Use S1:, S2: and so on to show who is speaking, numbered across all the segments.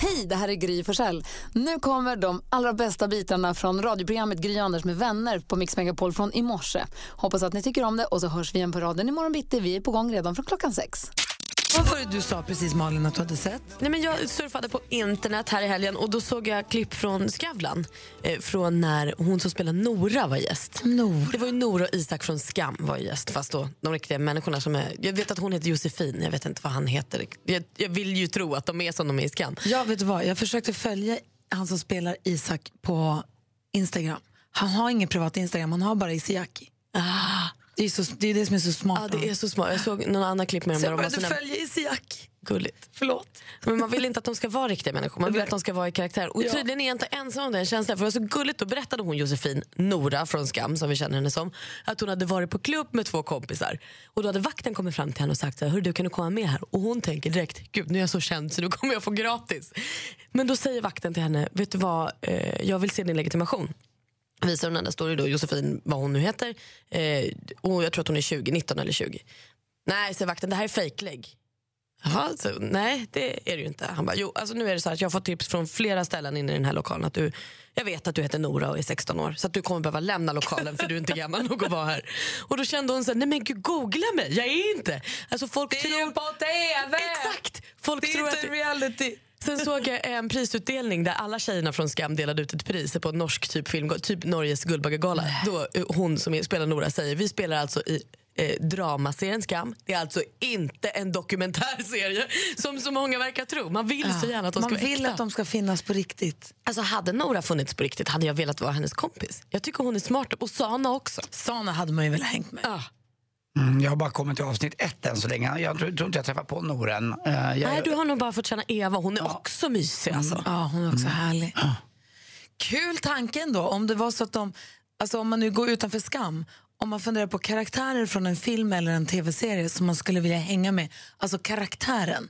S1: Hej, det här är Gry Forssell. Nu kommer de allra bästa bitarna från radioprogrammet Gry Anders med vänner på Mix Megapol från i morse. Hoppas att ni tycker om det och så hörs vi igen på raden imorgon bitti. Vi är på gång redan från klockan sex.
S2: Vad var det du sa precis Malin att du hade sett?
S3: Nej, men jag surfade på internet här i helgen och då såg jag klipp från Skavlan. Eh, från när hon som spelar Nora var gäst.
S2: Nora.
S3: Det var ju Nora och Isak från Skam var ju gäst. Fast då de riktiga människorna som är... Jag vet att hon heter Josefin, jag vet inte vad han heter. Jag, jag vill ju tro att de är som de är i Skam.
S2: Jag vet du vad, jag försökte följa han som spelar Isak på Instagram. Han har ingen privat Instagram, han har bara Isiaki.
S3: Ah,
S2: Det är, så, det är det som är så smart.
S3: ah, det är så smart. Jag såg någon annan klipp med dem
S2: Sen
S3: där de var
S2: började du
S3: såna...
S2: följa Isiaki.
S3: Gulligt.
S2: Förlåt.
S3: Men man vill inte att de ska vara riktiga människor, man vill att de ska vara i karaktär. Och
S2: Ja.
S3: tydligen är jag inte ensam om den känslan. För det var så gulligt, då berättade hon Josefin Nora från Skam, som vi känner henne som, att hon hade varit på klubb med två kompisar. Och då hade vakten kommit fram till henne och sagt så här, "Hörru, du kan du komma med här? Och hon tänker direkt, gud nu är jag så känd så nu kommer jag få gratis. Men då säger vakten till henne, vet du vad, Eh, jag vill se din legitimation visar hon den där står det då Josefin, vad hon nu heter. Eh, och jag tror att hon är 20, 19 eller 20. Nej, säger vakten, det här är fejklägg. Jaha, så, nej det är det ju inte. Han bara, jo alltså nu är det så här att jag har fått tips från flera ställen inne i den här lokalen att du, jag vet att du heter Nora och är 16 år så att du kommer behöva lämna lokalen för du är inte gammal nog att vara här. Och då kände hon så här, nej men gud googla mig, jag är inte. Alltså folk det tror...
S2: på TV!
S3: Exakt! Folk
S2: Det är
S3: tror
S2: inte
S3: att det-
S2: reality.
S3: Sen såg jag en prisutdelning där alla tjejerna från Skam delade ut ett pris på en norsk typ film, typ Norges Guldbaggegala. Då eh, hon som är- spelar Nora säger, vi spelar alltså i eh, dramaserien Skam. Det är alltså inte en dokumentärserie som så många verkar tro. Man vill så gärna att de ska
S2: Man
S3: vara
S2: vill
S3: äkta.
S2: att de ska finnas på riktigt.
S3: Alltså hade Nora funnits på riktigt hade jag velat vara hennes kompis. Jag tycker hon är smart och Sana också.
S2: Sana hade man ju velat hängt med.
S3: Ah.
S4: Mm, jag har bara kommit till avsnitt ett än så länge. Jag tror, tror inte jag träffar på Nora än. Eh, jag,
S3: Nej, du har nog bara fått känna Eva. Hon är också mysig alltså.
S2: Mm. Ja, hon är också härlig. Kul tanken då, om det var så att de, alltså om man nu går utanför skam, om man funderar på karaktärer från en film eller en tv-serie som man skulle vilja hänga med, alltså karaktären.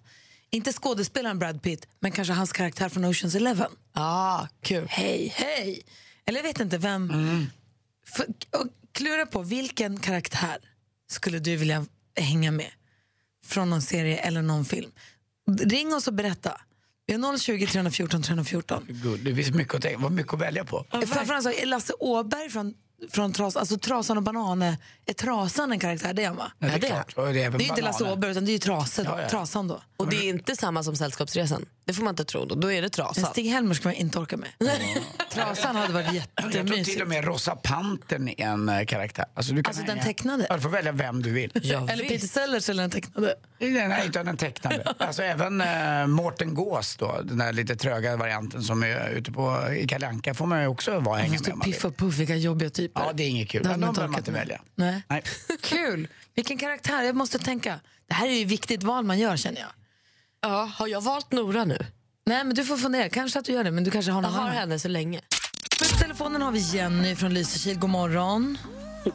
S2: Inte skådespelaren Brad Pitt, men kanske hans karaktär från Oceans Eleven.
S3: Ah, kul. Mm.
S2: Hej, hej! Eller jag vet inte vem. För, och klura på, vilken karaktär skulle du vilja hänga med från någon serie eller någon film? Ring oss och berätta. Vi har 020 314 314.
S4: Gud, det finns mycket att, tänka, vad mycket att välja på.
S2: Framförallt så är Lasse Åberg från, från tras, alltså Trasan och Banane. Är Trasan en karaktär? Det är han va?
S4: Ja, det är
S3: det är-
S4: klart. Och det är,
S2: Det är ju inte Lasse Åberg utan det är ju Trase då.
S4: Ja, ja.
S2: Trasan då.
S3: Och det är inte samma som Sällskapsresan. Det får man inte tro. Då, då är det
S2: Men
S3: trasat.
S2: Stig-Helmer ska man inte orka med. Trasan hade varit
S4: Jag tror till
S2: jättemysigt.
S4: och med Rosa Pantern är en eh, karaktär. Alltså, du kan
S2: Alltså, den tecknade?
S4: Ja, du får välja vem du vill.
S3: Ja,
S2: Eller Peter
S3: visst.
S2: Sellers eller den tecknade.
S4: Nej, utan den tecknade. Alltså även äh, Mårten Gås då, den där lite tröga varianten som är ute på i Kalle Anka får man ju också vara hänga med om
S2: Typ
S4: man
S2: Piff
S4: vill.
S2: och Puff, vilka jobbiga typer.
S4: Ja, det är inget kul.
S2: Det
S4: Men
S2: hade
S4: de behöver
S2: orkat
S4: man inte
S2: med.
S4: välja.
S2: Nej.
S4: Nej.
S2: Kul! Vilken karaktär, jag måste tänka. Det här är ju ett viktigt val man gör känner jag.
S3: Ja, har jag valt Nora nu?
S2: Nej men du får fundera, kanske att du gör det men du kanske har
S3: Jag
S2: någon
S3: har
S2: annan.
S3: henne så länge.
S2: Men på telefonen har vi Jenny från Lysekil, god morgon.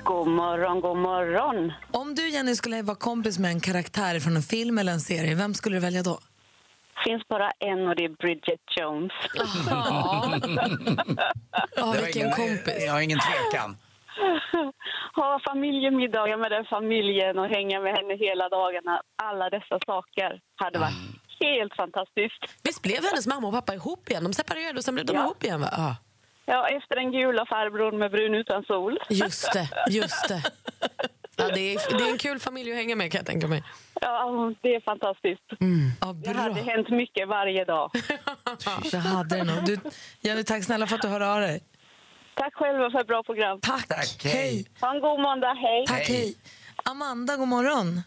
S5: God morgon, god morgon.
S2: Om du Jenny skulle vara kompis med en karaktär från en film eller en serie, vem skulle du välja då?
S5: finns bara en och det är Bridget Jones.
S3: Ja,
S4: Det var
S3: vilken
S4: ingen-
S3: kompis.
S4: Jag har ingen tvekan.
S5: Ha familjemiddagar med den familjen och hänga med henne hela dagarna. Alla dessa saker hade varit helt fantastiskt.
S3: Visst blev hennes mamma och pappa ihop igen? De separerade och sen blev de
S5: Ja.
S3: ihop igen va? Ja,
S5: Ja, efter den gula farbrorn med brun utan sol.
S3: just det. Just det. Ja, det, är, det är en kul familj att hänga med kan jag tänka mig.
S5: Ja, det är fantastiskt.
S2: Ja,
S5: Det
S2: bra.
S5: hade hänt mycket varje dag.
S2: Det hade det nog. Du, Jenny, tack snälla för att du hör av dig.
S5: Tack själva för ett bra program.
S2: Tack.
S4: Tack, hej.
S5: Ha en god måndag, hej.
S2: Tack, hej. Amanda, god morgon.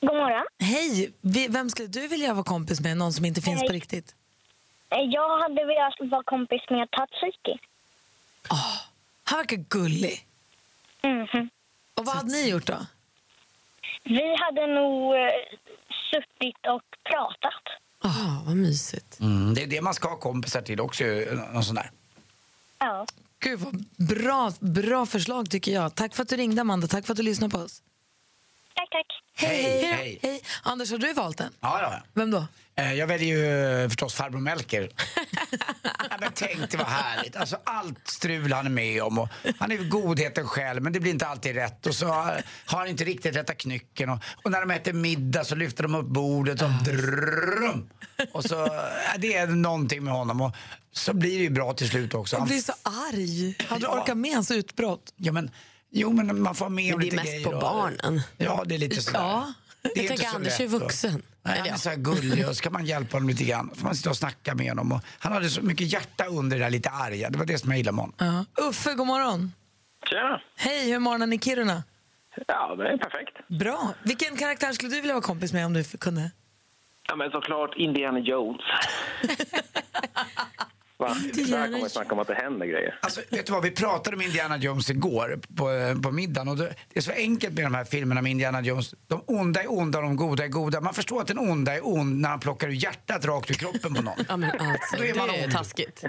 S5: God morgon.
S2: Hej, Vi- vem skulle du vilja vara kompis med? Någon som inte finns på riktigt?
S5: Eh, Jag hade velat vara kompis med Tatsuki.
S2: Han verkar gullig. Och vad hade ni gjort då?
S5: Mhm. Vi hade nog eh, suttit och pratat.
S3: Ja, vad mysigt.
S4: Mm, det är det man ska ha kompisar till också. ju, Någon sån där.
S5: Ja.
S2: Gud vad bra, bra förslag tycker jag. Tack för att du ringde Amanda, tack för att du lyssnade på oss.
S5: Tack, tack.
S2: Hej, hej, då.
S4: hej.
S2: hej. Anders, har du valt en?
S4: Ja, ja.
S2: Vem då?
S4: Eh, Jag väljer ju eh, förstås farbror Melker. ja, men tänk det var härligt. Alltså, allt strul han är med om. Och han är ju godheten själv men det blir inte alltid rätt. Och så har har han inte riktigt rätta knycken. Och, och när de äter middag så lyfter de upp bordet och
S3: Ah.
S4: drrrrum. Och så, ja, det är någonting med honom. Och så blir det ju bra till slut också.
S2: Han
S4: Han-
S2: blir så arg. Hade du
S4: Ja.
S2: orkat med hans utbrott?
S4: Ja, men, jo men man får ha med
S3: Men
S4: om
S3: det är
S4: lite
S3: mest
S4: grejer.
S3: på
S4: och-
S3: barnen.
S4: Ja, det är lite sådär.
S2: Ja.
S4: Det
S3: Jag
S4: inte
S3: tänker
S4: så
S3: Anders är
S4: lätt, va?
S3: vuxen.
S4: Nej,
S3: Eller
S4: han är
S3: ja.
S4: så här gullig och så kan man hjälpa honom lite grann. Får man sitta och snacka med honom. Och han hade så mycket hjärta under det där lite arga. Det var det som jag gillade med honom.
S2: Ja. Uffe, god morgon.
S6: Tjena!
S2: Hej, hur är morgonen i Kiruna?
S6: Ja, det är perfekt.
S2: Bra. Vilken karaktär skulle du vilja vara kompis med om du kunde?
S6: Ja, men såklart Indiana Jones. Va?
S3: Indiana
S6: Där kommer vi
S3: Jones.
S6: snacka om att det händer grejer.
S4: Alltså, vet du vad? Vi pratade om Indiana Jones igår på, på middagen. Och det det är så enkelt med de här filmerna med Indiana Jones. De onda är onda och de goda är goda. Man förstår att den onda är ond när han plockar ur hjärtat rakt ur kroppen på någon.
S3: Ja, men alltså,
S4: Då är
S3: det
S4: man
S3: är
S4: ond.
S3: taskigt.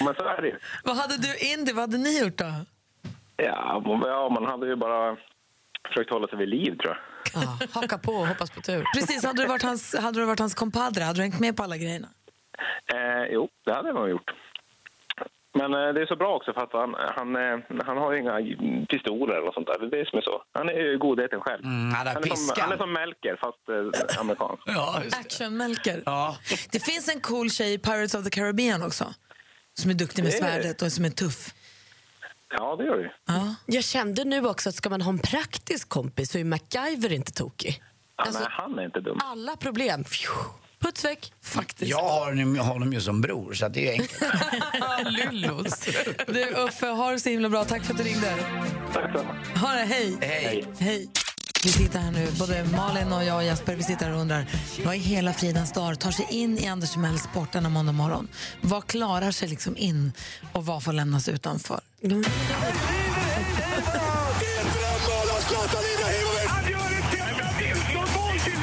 S6: Men så är det ju.
S2: Vad hade du Indy, vad hade ni gjort då?
S6: Ja, men- ja, man hade ju bara försökt hålla sig vid liv, tror jag.
S3: Ja, haka på och hoppas på tur.
S2: Precis, hade du varit hans, hade du varit hans kompadre? Hade du hängt med på alla grejerna?
S6: Eh, jo, det hade man gjort. Men eh, det är så bra också för att han, han, eh, han har ju inga pistoler eller sånt där. Det är det som är så. Han är ju godheten själv.
S4: Mm, han har
S6: är som,
S4: piskan.
S6: han är som Melker, fast eh, amerikansk.
S4: Ja, just det.
S2: Actionmelker.
S4: Ja.
S2: Det finns en cool tjej i Pirates of the Caribbean också. Som är duktig med
S6: Det är-
S2: svärdet och som är tuff.
S6: Ja, det gör det ju.
S2: Ja.
S3: Jag kände nu också att ska man ha en praktisk kompis så är MacGyver inte tokig.
S6: Ja,
S3: Alltså-
S6: nej, han är inte dum.
S3: Alla problem, pju, puts väck. Faktiskt.
S4: Jag har honom- honom ju som bror, så att det är ju enkelt.
S3: Lullos.
S2: Du Uffe, ha det så himla bra. Tack för att du ringde.
S6: Tack så mycket.
S2: Ha det, hej.
S4: Hej.
S2: Hej. Vi sitter här nu, både Malin och jag och Jasper, vi sitter här och undrar vad i hela fridens dag tar sig in i Anders Timells sport denna måndag morgon? Vad klarar sig liksom in och vad får lämnas utanför?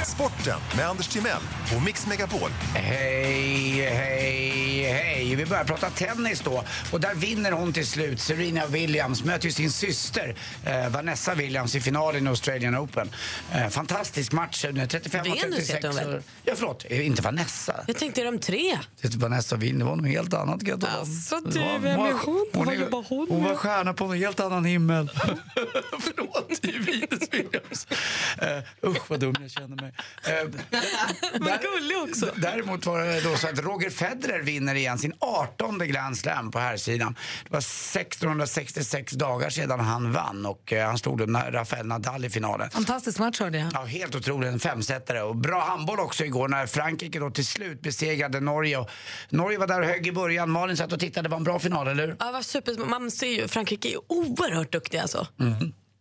S7: Sporten med Anders Timell och Mix Megapol.
S4: Hej, hej, hej. Vi börjar prata tennis då. Och där vinner hon till slut. Serena Williams möter ju sin syster eh, Vanessa Williams i finalen i Australian Open. Eh, fantastisk match. Nu är 35 och
S3: Venus
S4: 36.
S3: heter hon väl?
S4: och- Ja, förlåt. Eh, Inte Vanessa.
S3: Jag tänkte är de tre.
S4: Det var Vanessa Wien, det var något helt annat. Gött.
S3: Alltså,
S4: Det
S3: du,
S4: var-
S3: vem är hon? Vad
S4: är-
S3: jobbar hon
S4: hon
S3: med?
S4: var stjärna på en helt annan himmel. Förlåt, det är ju Venus Williams. Uh, usch, vad dum jag känner mig. Eh, där-
S3: gullig också.
S4: D- Däremot var det då så att Roger Federer vinner igen sin 18 Grand Slam på här sidan. Det var 1666 dagar sedan han vann och eh, han slog då Na- Rafael Nadal i finalen.
S2: Fantastisk match hörde jag.
S4: Ja, helt otroligt. En femsetare. Och bra handboll också igår när Frankrike då till slut besegrade Norge. Och Norge var där och högg i början. Malin satt och tittade. Det var en bra final, eller hur?
S3: Ja, vad super. Man ser ju, Frankrike är oerhört duktiga alltså.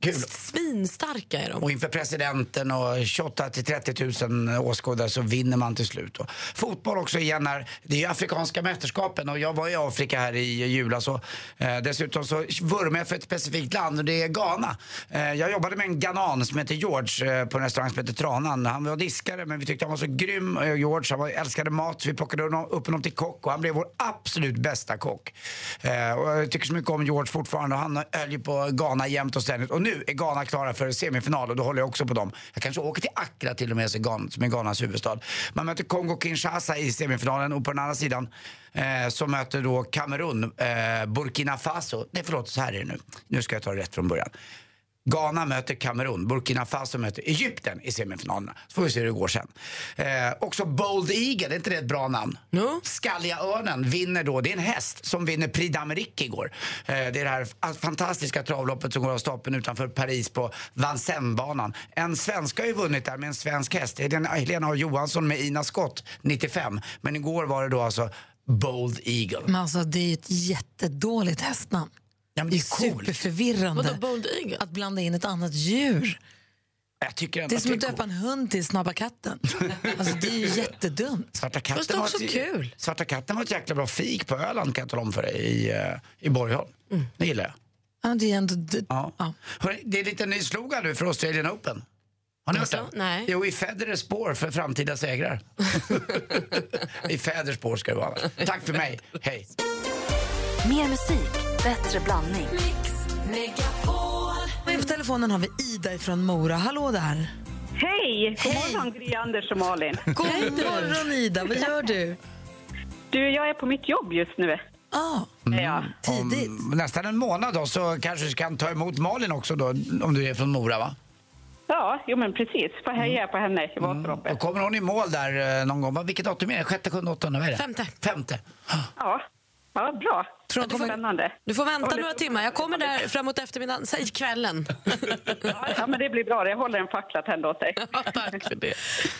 S4: Kul.
S3: Svinstarka är de.
S4: Och inför presidenten och 28 till 30 000 åskådare så vinner man till slut. Och fotboll också igen här. Det är ju afrikanska mästerskapen och jag var i Afrika här i julas. Och, eh, dessutom så vurmar jag för ett specifikt land och det är Ghana. Eh, jag jobbade med en ghanan som heter George eh, på en restaurang som heter Tranan. Han var diskare men vi tyckte han var så grym, eh, George. Han var, älskade mat. så Vi plockade honom- upp honom till kock och han blev vår absolut bästa kock. Eh, och jag tycker så mycket om George fortfarande. och Han höll ju på Ghana jämt och ständigt. Och nu är Ghana klara för semifinal och då håller jag också på dem. Jag kanske åker till Accra till och med, som är Ghan- som är Ghanas huvudstad. Man möter Kongo-Kinshasa i semifinalen och på den andra sidan eh, så möter då Kamerun eh, Burkina Faso. Nej förlåt, så här är det nu. Nu ska jag ta det rätt från början. Ghana möter Kamerun, Burkina Faso möter Egypten i semifinalerna. Så får vi se hur det går sen. Eh, också Bold Eagle, är inte det ett bra namn?
S3: Jo.
S4: Skalliga örnen vinner då, det är en häst som vinner Prix d'Amérique igår. Eh, det är det här f- fantastiska travloppet som går av stapeln utanför Paris på Vincennes-banan. En svenska har ju vunnit där med en svensk häst. Det är den Helena A. Johansson med Ina Skott, 95. Men igår var det då alltså Bold Eagle.
S2: Men alltså det är ju ett jättedåligt hästnamn.
S4: Ja, men
S2: Det
S4: det
S2: är
S4: är coolt.
S3: Vadå,
S2: superförvirrande
S3: Bold Eagle?
S2: att blanda in ett annat djur.
S4: Jag tycker ändå
S2: Det är som att
S4: coolt.
S2: döpa en hund till Snabba katten. Alltså det är ju jättedumt.
S4: Svarta
S3: Fast det
S4: katten,
S3: är
S4: var
S3: också
S4: ett,
S3: kul.
S4: Svarta katten var ett jäkla bra fik på Öland kan jag tala om för dig i, eh, i Borgholm.
S2: Mm.
S4: Det gillar jag.
S2: Ja, det är ändå... d-
S4: Ja.
S2: Ja.
S4: Hörrni, det är lite ny slogan nu för Australian Open. Har ni hört
S3: Alltså,
S4: den?
S3: nej.
S4: Jo, i Federers spår för framtida segrar. I Federers spår ska det vara. Tack för mig. Hej.
S8: Mer musik, bättre blandning.
S2: Med på telefonen har vi Ida från Mora. Hallå där!
S9: Hej! God morgon, Gry, Anders och Malin.
S2: God morgon, Ida. Vad gör du?
S9: Du, jag är på mitt jobb just nu.
S2: Ah,
S9: ja.
S4: Tidigt. Om Mm, nästan en månad då så kanske du kan ta emot Malin också då, om du är från Mora va?
S9: Ja, jo men precis. Får heja på henne i Vasaloppet.
S4: Och kommer hon i mål där eh, någon gång? Va, Vilket datum är det? Sjätte, sjunde, åttonde? Vad är det? Femte. Femte.
S9: Ja. ja, bra.
S3: Tror
S9: det blir spännande.
S3: Du får vänta några timmar. Jag kommer där framåt eftermiddagen, säg kvällen.
S9: Ja, men det blir bra. Jag håller en fackla tänd åt dig.
S3: Tack för det.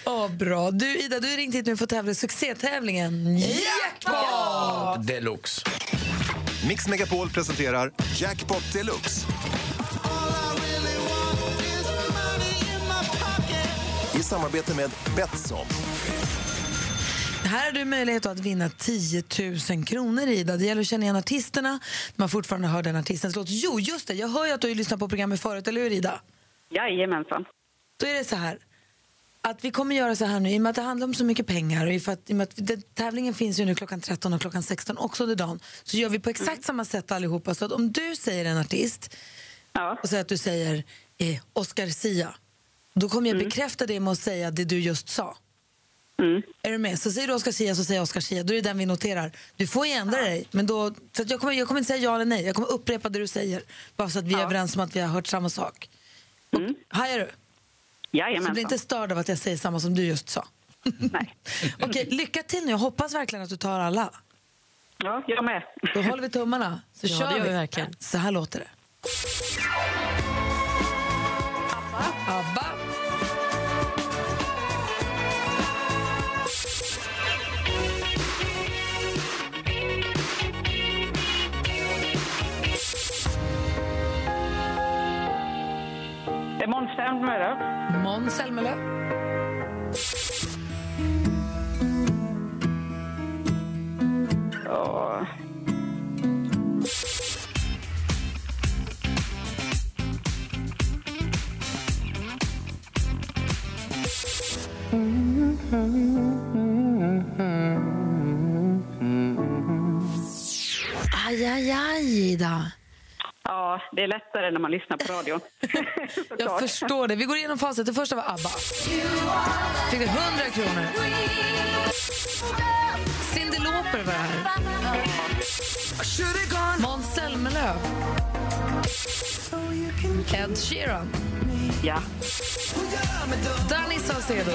S2: Åh, bra. Du, Ida, du har ringt hit nu för att tävla i succétävlingen Jackpot!
S7: Deluxe. Mix Megapol presenterar Jackpot Deluxe. I samarbete med Betsson.
S2: Här har du möjlighet att vinna 10 000 kronor, Ida. Det gäller att känna igen artisterna när man fortfarande hör den artistens låt. Jo, just det, jag hör ju att du har lyssnat på programmet förut, eller hur Ida?
S9: Jajamensan.
S2: Då är det så här, att vi kommer göra så här nu, i och med att det handlar om så mycket pengar och i för att, i och med att den, tävlingen finns ju nu klockan 13 och klockan 16 också under dagen, så gör vi på exakt samma sätt allihopa. Så att om du säger en artist och säger att du säger eh, Oscar Sia, då kommer jag bekräfta det med att säga det du just sa.
S9: Mm.
S2: Är du med? Så säger du Oscar Sia så säger jag Oscar Sia. Då är det den vi noterar. Du får ju ändra dig. Men då, så att jag, kommer, jag kommer inte säga ja eller nej. Jag kommer upprepa det du säger. Bara så att vi är överens om att vi har hört samma sak. Mm. Hajar du?
S9: Jajamensan.
S2: Så bli inte störd av att jag säger samma som du just sa. Nej. Okej, lycka till nu. Jag hoppas verkligen att du tar alla.
S9: Ja, jag med.
S2: Då håller vi tummarna. Så
S3: Ja,
S2: kör
S3: det gör
S2: vi.
S3: vi verkligen.
S2: Så här låter det. ABBA.
S9: Det är Måns Zelmerlöw.
S2: Måns Zelmerlöw.
S9: Ja.
S2: Aj, aj, aj, Ida.
S9: ja, det är lättare när man lyssnar på radion.
S2: Jag
S9: Såklart.
S2: förstår det. Vi går igenom facit. Det första var ABBA. Fick du 100 kronor. Cyndi Lauper var det här. Måns Zelmerlöw. Ed Sheeran.
S9: Ja.
S2: Danny Saucedo.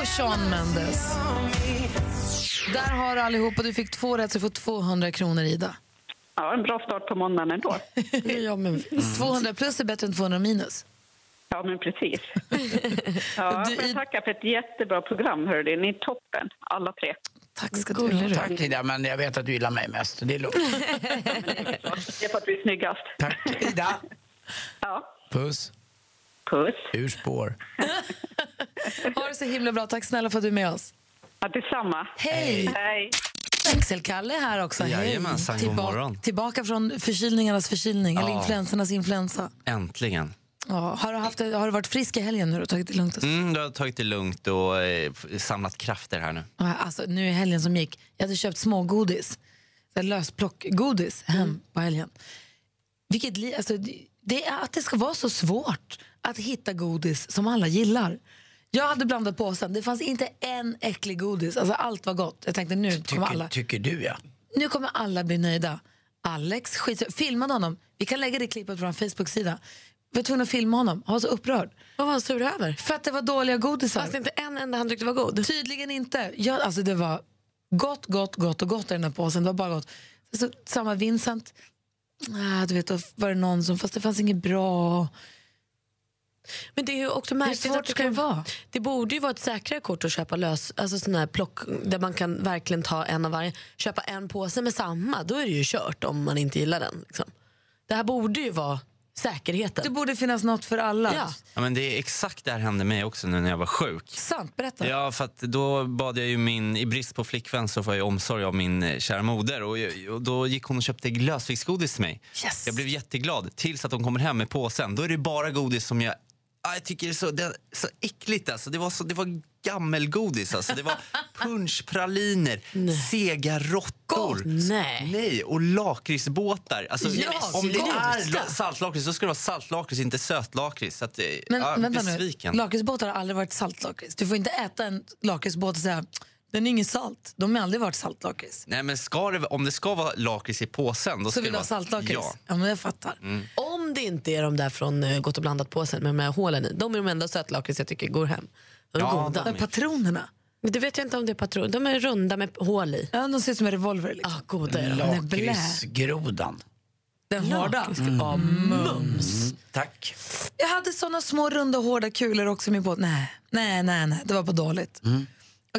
S2: Och Sean Mendes. Där har du allihopa. Du fick två rätt, så du får 200 kronor, Ida.
S9: ja, en bra start på måndagen ändå.
S2: ja, men... 200 plus är bättre än 200 minus.
S9: Ja, men precis. Ja, jag får tacka för ett jättebra program. Hörde. Ni är toppen, alla tre.
S2: Tack ska
S9: du ha.
S4: Tack Ida, men jag vet att du gillar mig mest. Det är lugnt.
S2: eh.
S9: Det är för att du är snyggast.
S4: Tack, Ida.
S9: Ja.
S4: Puss.
S9: Puss.
S4: Ur spår.
S2: Ha det så himla bra. Tack snälla för att du är med oss.
S9: Ja, detsamma.
S2: Hej!
S9: Hej.
S2: Växelkalle är här också. Hej.
S10: Jajamensan, god morgon.
S2: Tillbaka från förkylningarnas förkylning, eller
S10: Ja.
S2: influensernas influensa.
S10: Äntligen.
S2: Ja. Har, du haft, har du varit frisk i helgen nu och tagit det lugnt?
S10: Mm, du har tagit det lugnt och eh, f- samlat krafter här nu.
S2: Ja, Alltså, nu i helgen som gick, jag hade köpt smågodis. Så här Lösplockgodis hem
S10: Mm.
S2: på helgen. Vilket, li- alltså, det- det är att det ska vara så svårt att hitta godis som alla gillar. Jag hade blandat påsen, det fanns inte en äcklig godis. Alltså, allt var gott. Jag tänkte nu kommer alla
S4: Tycker, tycker du ja.
S2: nu kommer alla bli nöjda. Alex skit, filmade honom. Vi kan lägga det klippet på vår Facebook-sida. Vi var tvungna att filma honom. Han var så upprörd. Vad var han sur över? För att det var dåliga godisar. Fast inte en enda han tyckte var god? Tydligen inte. Ja, alltså det var gott, gott, gott och gott i den här påsen. Det var bara gott. Så, samma Vincent. Ah, du vet, då var det någon som... Fast det fanns inget bra.
S3: Men det är ju också
S2: Hur
S3: märkligt
S2: svårt ska det vara?
S3: Det borde ju vara ett säkrare kort att köpa lös, alltså sån här plock där man kan verkligen ta en av varje. Köpa en påse med samma, då är det ju kört om man inte gillar den. Liksom. Det här borde ju vara säkerheten.
S2: Det borde finnas något för alla. Ja.
S10: Ja, men det är exakt det här hände mig också nu när jag var sjuk.
S2: Sant, berätta.
S10: Ja, för att då bad jag ju min, i brist på flickvän så får jag omsorg av min eh, kära moder och, jag- och då gick hon och köpte lösviktsgodis till mig.
S2: Yes.
S10: Jag blev jätteglad tills att hon kommer hem med påsen. Då är det bara godis som jag, ah, jag tycker det är så, det är så äckligt alltså. Det var, så, det var gammelgodis. Alltså. Det var punschpraliner, sega råttor.
S3: Nej.
S10: och lakritsbåtar. Alltså,
S3: Ja,
S10: om det
S3: sluta.
S10: är la- saltlakrits så ska det vara saltlakrits, inte sötlakrits. Så att, eh,
S2: Men
S10: ja,
S2: vänta nu,
S10: besviken.
S2: lakritsbåtar har aldrig varit saltlakrits. Du får inte äta en lakritsbåt och säga den är ingen salt. De har aldrig varit saltlakrits.
S10: Nej, men ska det, om det ska vara lakrits i påsen... Då
S2: Så
S10: ska
S2: vill
S10: det
S2: du ha
S10: vara
S2: saltlakrits?
S10: Ja.
S2: ja, men jag fattar.
S10: Mm.
S3: Om det inte är de där från eh, Gott och blandat-påsen med de här hålen i. De är de enda sötlakrits jag tycker går hem. De är
S2: Ja,
S3: goda.
S2: de är- patronerna?
S3: Men det vet jag inte om det är patroner. De är runda med hål i.
S2: Ja, de ser ut som en revolver. Liksom.
S3: Ah, goda är de. Den är blä.
S4: Lakritsgrodan.
S2: Den hårda?
S3: Lakrits-
S2: Ja, mums.
S4: Tack.
S2: Jag hade såna små runda hårda kulor också i min båt. Nej, nej, nej, nej. det var på dåligt.
S4: Mm.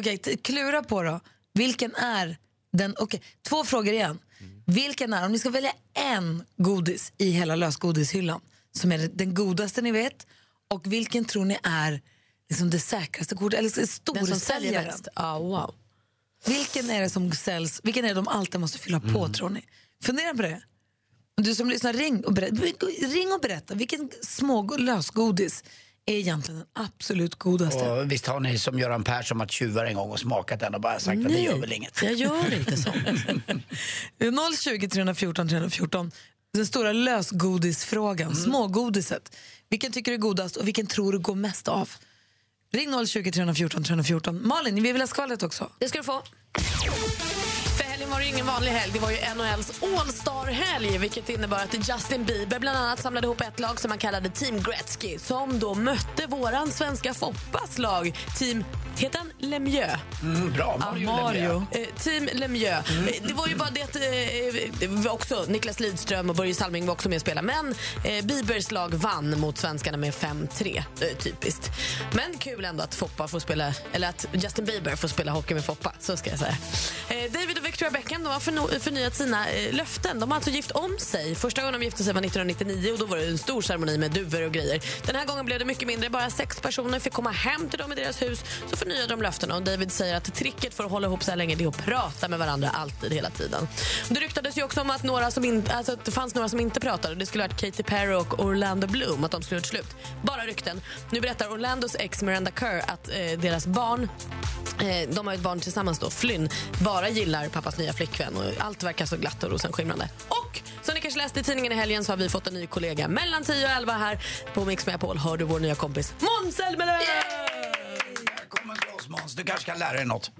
S2: Okej, t- klura på då. Vilken är den... Okej, två frågor igen. Vilken är, om ni ska välja en godis i hela lösgodishyllan som är den godaste ni vet och vilken tror ni är liksom det säkraste kortet, eller
S3: Den som säljer
S2: storsäljaren?
S3: bäst. Ah, wow.
S2: Vilken är det som säljs, vilken är det de alltid måste fylla på tror ni? Fundera på det. Du som lyssnar, ring och berätta, ring och berätta vilken små lösgodis är egentligen den absolut godaste?
S4: Och visst har ni som Göran Persson varit tjuvar en gång och smakat den och bara sagt att det
S2: Nej,
S4: gör väl inget.
S3: Jag gör inte så.
S2: 020 314 314. Den stora lösgodisfrågan, smågodiset. Vilken tycker du är godast och vilken tror du går mest av? Ring 020 314 314. Malin, vi vill ha skvallret också.
S3: Det ska du få. För helgen var det ju ingen vanlig helg. Det var ju NHLs All-star-helg vilket innebar att Justin Bieber bland annat samlade ihop ett lag som han kallade Team Gretzky som då mötte våran svenska Foppas lag, Team... Heter han Lemieux?
S4: Mm, bra, Mario. Lemieux. Mm.
S3: Eh, Team Lemieux. Eh, Det var ju bara det att eh, eh, det var också Niklas Lidström och Börje Salming var också med och spelade. Men eh, Bibers lag vann mot svenskarna med 5-3. Eh, typiskt. Men kul ändå att, Foppa får spela, eller att Justin Bieber får spela hockey med Foppa. Så ska jag säga. Eh, David och Victoria Beckham de har förno- förnyat sina eh, löften. De har alltså gift om sig. Första gången de gifte sig var 1999 och då var det en stor ceremoni med duvor och grejer. Den här gången blev det mycket mindre. Bara sex personer fick komma hem till dem i deras hus. Så förnyade de löftena och David säger att tricket för att hålla ihop så här länge det är att prata med varandra alltid, hela tiden. Det ryktades ju också om att, några som in, alltså att det fanns några som inte pratade. Det skulle ha varit Katy Perry och Orlando Bloom, att de skulle ha gjort slut. Bara rykten. Nu berättar Orlandos ex Miranda Kerr att eh, deras barn Eh, de har ett barn tillsammans då, Flynn, bara gillar pappas nya flickvän och allt verkar så glatt och rosenskimrande. Och som ni kanske läste i tidningen i helgen så har vi fått en ny kollega mellan 10 och 11 här på Mix Megapol. Hör du vår nya kompis Måns Zelmerlöw!
S4: Välkommen till oss Måns, du kanske kan lära dig något.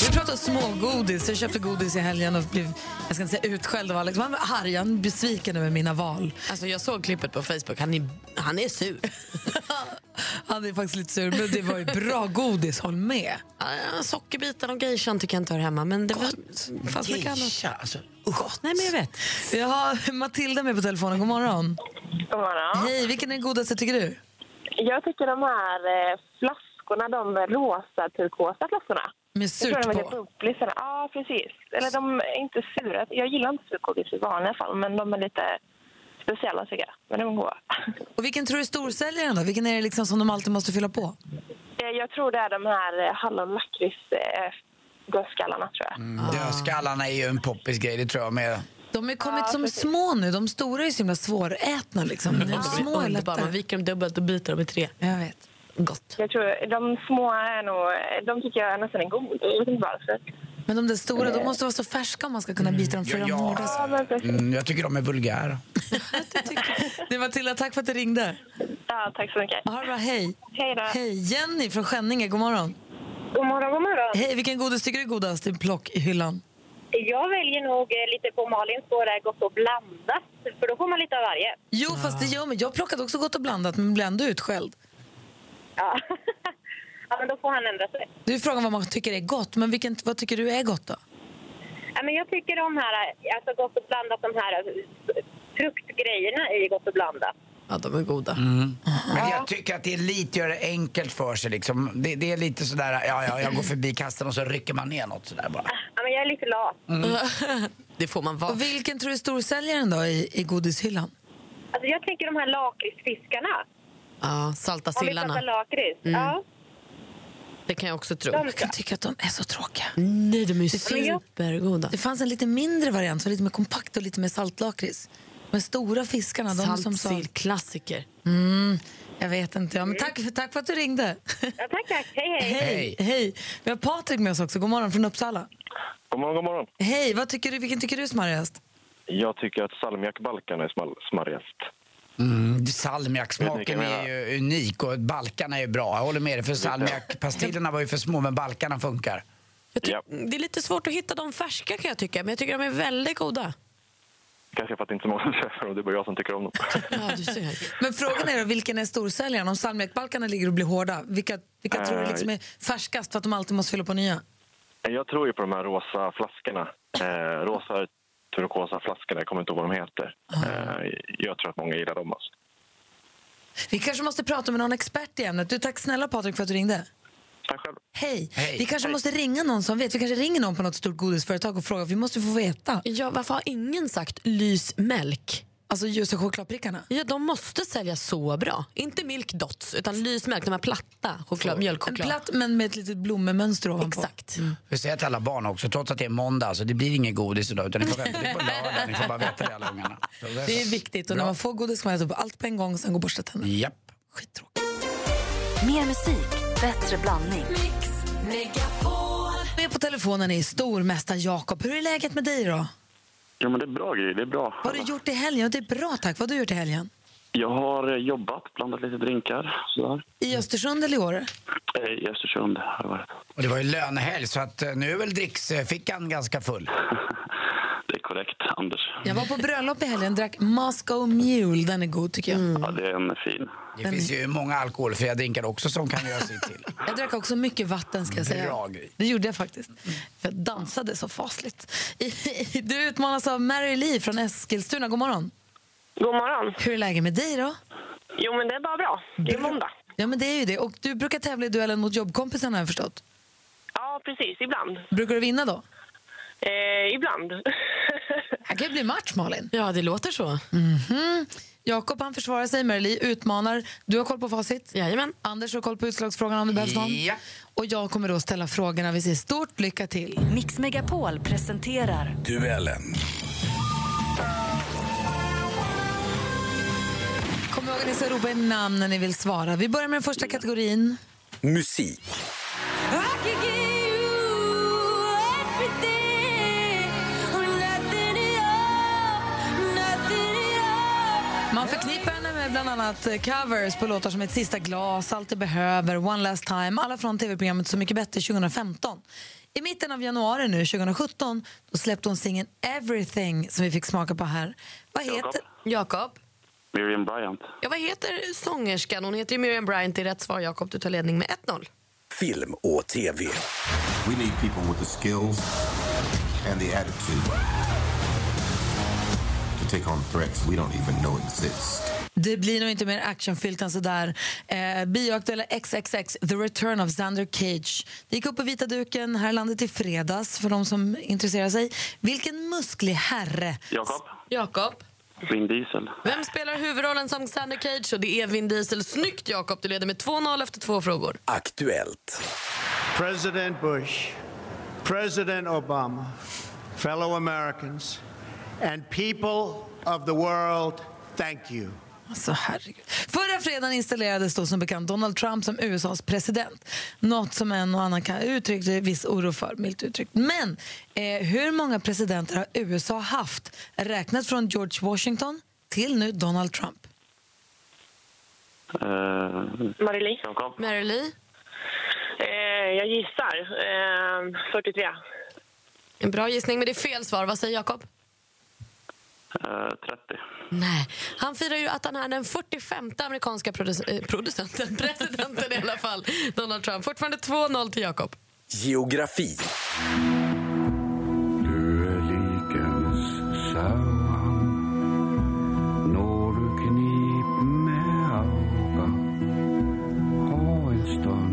S2: Vi pratar smågodis. Jag köpte godis i helgen och blev jag ska inte säga utskälld av Alex. Man var arg, han besviken över mina val.
S3: Alltså jag såg klippet på Facebook, han är, han är sur.
S2: Han är faktiskt lite sur, men det var ju bra godis, håll med.
S3: Ah, Sockerbiten och geishan tycker jag inte hör hemma men det var, fanns Mm. mycket annat.
S4: Geisha, alltså.
S3: Nej men jag vet.
S2: Jag har Matilda med på telefonen. God morgon.
S11: God morgon.
S2: Hej, vilken är den godaste tycker du?
S11: Jag tycker de här eh, flaskorna, de rosa turkosa flaskorna.
S2: Med surt
S11: jag tror de är
S2: på.
S11: lite bubblisarna. Ja, precis. Eller de är inte sura. Jag gillar inte surkålgodis i vanliga fall, men de är lite speciella tycker jag. Men de är goda.
S2: Och vilken tror du är storsäljaren då? Vilken är det liksom som de alltid måste fylla på?
S11: Eh, Jag tror det är de här eh, hallon-lakrits-dödskallarna, eh, tror jag.
S4: Mm. Dödskallarna är ju en poppis grej, det tror jag med.
S2: De har kommit som små nu. De stora är så himla svårätna. Liksom. De små är
S3: Underbara,
S2: lättare.
S3: man viker dem dubbelt och byter dem i tre.
S2: Jag vet.
S3: Gott.
S11: Jag tror de små är nog... eh, De tycker jag nästan är goda. Jag vet inte varför.
S2: Men de där stora de måste vara så färska om man ska kunna bita dem. För
S4: Ja,
S2: de
S4: ja.
S2: hårda.
S11: Ja, men precis.
S4: Mm, jag tycker de är vulgära.
S2: Du, Matilda, tack för att du ringde.
S11: Ja, tack så mycket.
S2: Ha det bra, hej.
S11: Hej då.
S2: Hej, Jenny från Skänninge. God morgon.
S12: God morgon, god morgon.
S2: Hej, vilken godis tycker du är godast i plock i hyllan?
S12: Jag väljer nog eh, lite på Malins spår där, gott och blandat. För då får man lite av varje.
S2: Jo, fast det gör mig. Jag plockade också gott och blandat, men blev ändå utskälld.
S12: Ja. ja, men då får han ändra sig.
S2: Det är ju frågan vad man tycker är gott, men vilken, vad tycker du är gott då?
S12: Ja, men jag tycker de här, eh, alltså gott och blandat, de här eh, fruktgrejerna i gott och blandat.
S3: Ja, de är goda.
S4: Men jag tycker att det är lite gör det enkelt för sig liksom. Det, det är lite sådär, ja, ja, jag går förbi kasten och så rycker man ner något sådär bara.
S12: Ah, Ja, men jag är lite lat.
S3: Det får man vara.
S2: Och vilken tror du är storsäljaren då i, i godishyllan?
S12: Alltså, jag tänker de här lakritsfiskarna.
S3: Ja, salta
S12: Om vi pratar
S3: sillarna.
S12: lakrits.
S3: Mm.
S12: Ja.
S3: Det kan jag också tro.
S12: De ska- Jag
S2: tycker att de är så tråkiga.
S3: Nej, de är ju
S2: Det finns-
S3: supergoda.
S2: Det fanns en lite mindre variant, som var lite mer kompakt och lite mer saltlakrits. Men stora fiskarna, de som sa...
S3: klassiker.
S2: Mm, jag vet inte. Ja, men tack, för, tack för att du ringde. Ja,
S12: tack, tack. Hej, hej.
S2: Hej, hej. Vi har Patrik med oss också. God morgon från Uppsala.
S6: God morgon, god morgon.
S2: Hej, vad tycker du, vilken tycker du är smarrigast?
S6: Jag tycker att salmiakbalkan är smal- smarrigast.
S4: Mm,
S6: Vet ni
S4: salmiaksmaken
S6: vilken jag
S4: är ju unik och balkarna är ju bra. Jag håller med dig, för salmiakpastillerna var ju för små men balkarna funkar.
S3: Det är lite svårt att hitta de färska kan jag tycka, men jag tycker de är väldigt goda.
S6: Kanske för att det inte är så många som köper dem, det är bara jag som tycker om dem.
S2: Men frågan är då, vilken är storsäljaren? Om salmiakbalkarna ligger och blir hårda, vilka, vilka
S6: Äh,
S2: tror du liksom är färskast för att de alltid måste fylla på nya?
S6: Jag tror ju på de här rosa flaskorna. Eh, rosa turkosa flaskorna, jag kommer inte ihåg vad de heter. Eh, jag tror att många gillar dem. Alltså.
S2: Vi kanske måste prata med någon expert i ämnet. Du, tack snälla Patrik för att du ringde.
S6: Tack själv.
S2: Hej.
S6: Hej.
S2: Vi kanske
S6: Hej.
S2: måste ringa någon som vet. Vi kanske ringer någon på något stort godisföretag och frågar. Vi måste få veta.
S3: Ja, varför har ingen sagt lysmälk?
S2: Alltså ljus och chokladprickarna?
S3: Ja, de måste sälja så bra. Inte Milk Dots, utan lysmälk, de här platta choklad, mjölkchoklad.
S2: Platt Mm. men med ett litet blommemönster ovanpå.
S3: Exakt.
S4: Vi säger till alla barn också, trots att det är måndag, så det blir ingen godis idag utan ni får vänta till på lördag. Ni får bara veta det alla ungarna. Så
S2: Det är viktigt. Och när man får godis kan man äta upp allt på en gång och sen gå och borsta tänderna.
S4: Japp.
S8: Mer musik, bättre blandning.
S2: Med på telefonen är stormästaren Jakob. Hur är läget med dig då?
S6: Ja, men det är bra grejer, det är bra.
S2: Vad har du gjort i helgen? Det är bra tack. Vad har du gjort i helgen?
S6: Jag har eh, jobbat, blandat lite drinkar sådär.
S2: I Östersund eller i Åre?
S6: Eh, I Östersund har jag varit.
S4: Och det var ju lönehelg så att eh, nu är väl dricksfickan ganska full.
S6: Det är korrekt, Anders.
S2: Jag var på bröllop i helgen drack Moscow Mule. Den är god tycker jag.
S6: Ja, det är en fin.
S4: Det finns ju många alkoholfria drinkar också som kan göra sitt till.
S2: Jag drack också mycket vatten ska jag säga.
S4: Bra grej.
S2: Det gjorde jag faktiskt. För jag dansade så fasligt. Du utmanas av Mary Lee från Eskilstuna. God morgon.
S12: God morgon.
S2: Hur är läget med dig då?
S12: Jo, men det är bara bra. Det är måndag.
S2: Ja men det är ju det. Och du brukar tävla i duellen mot jobbkompisarna har jag förstått.
S12: Ja, precis. Ibland.
S2: Brukar du vinna då?
S12: Eh, ibland.
S2: Det kan ju bli match Malin.
S3: Ja, det låter så.
S2: Mhm. Jakob han försvarar sig, Mary Lee utmanar. Du har koll på facit.
S3: Jajamän.
S2: Anders har koll på utslagsfrågan om det behövs någon.
S3: Ja.
S2: Och jag kommer då ställa frågorna. Vi säger stort lycka till.
S8: Mix Megapol presenterar
S13: Duellen.
S2: Kom ihåg att ni ska ropa er namn när ni vill svara. Vi börjar med den första kategorin.
S13: Musik.
S2: Man förknippar henne med bland annat eh, covers på låtar som Ett sista glas, Allt du behöver, One last time, alla från tv-programmet Så mycket bättre 2015. I mitten av januari nu, 2017 då släppte hon singeln Everything som vi fick smaka på här. Vad heter...
S3: Jakob.
S6: Miriam Bryant.
S3: Ja, vad heter sångerskan? Hon heter ju Miriam Bryant. Det är rätt svar, Jakob. Du tar ledning med 1-0.
S13: Film och tv.
S14: We need people with the skills and the attitude to take on threats we don't even know exist.
S2: Det blir nog inte mer actionfyllt än sådär. Eh, Bioaktuella XXX, The Return of Xander Cage. Det gick upp på vita duken här i landet i fredags för de som intresserar sig. Vilken musklig herre!
S6: Jakob?
S3: Jakob.
S6: Vin Diesel.
S3: Vem spelar huvudrollen som Xander Cage? Och det är Vin Diesel. Snyggt, Jakob. Du leder med 2-0 efter två frågor.
S13: Aktuellt.
S15: President Bush, President Obama, fellow Americans, and people of the world, thank you.
S2: Alltså, herregud. Förra fredagen installerades då som bekant Donald Trump som USAs president. Något som en och annan kan uttryckte viss oro för, milt uttryckt. Men eh, hur många presidenter har USA haft? Räknat från George Washington till nu Donald Trump.
S6: Eh,
S12: Marie-Li.
S6: Jakob?
S3: Mary Lee.
S12: Eh, jag gissar. Eh, 43.
S3: En bra gissning, men det är fel svar. Vad säger Jakob?
S6: eh, 30.
S3: Nej. Han firar ju att han är den 45 amerikanska produc- eh, producenten, presidenten i alla fall, Donald Trump. Fortfarande 2-0 till Jakob.
S13: Geografi.
S16: Du är likens sauan Når du knip med auga Ha en stund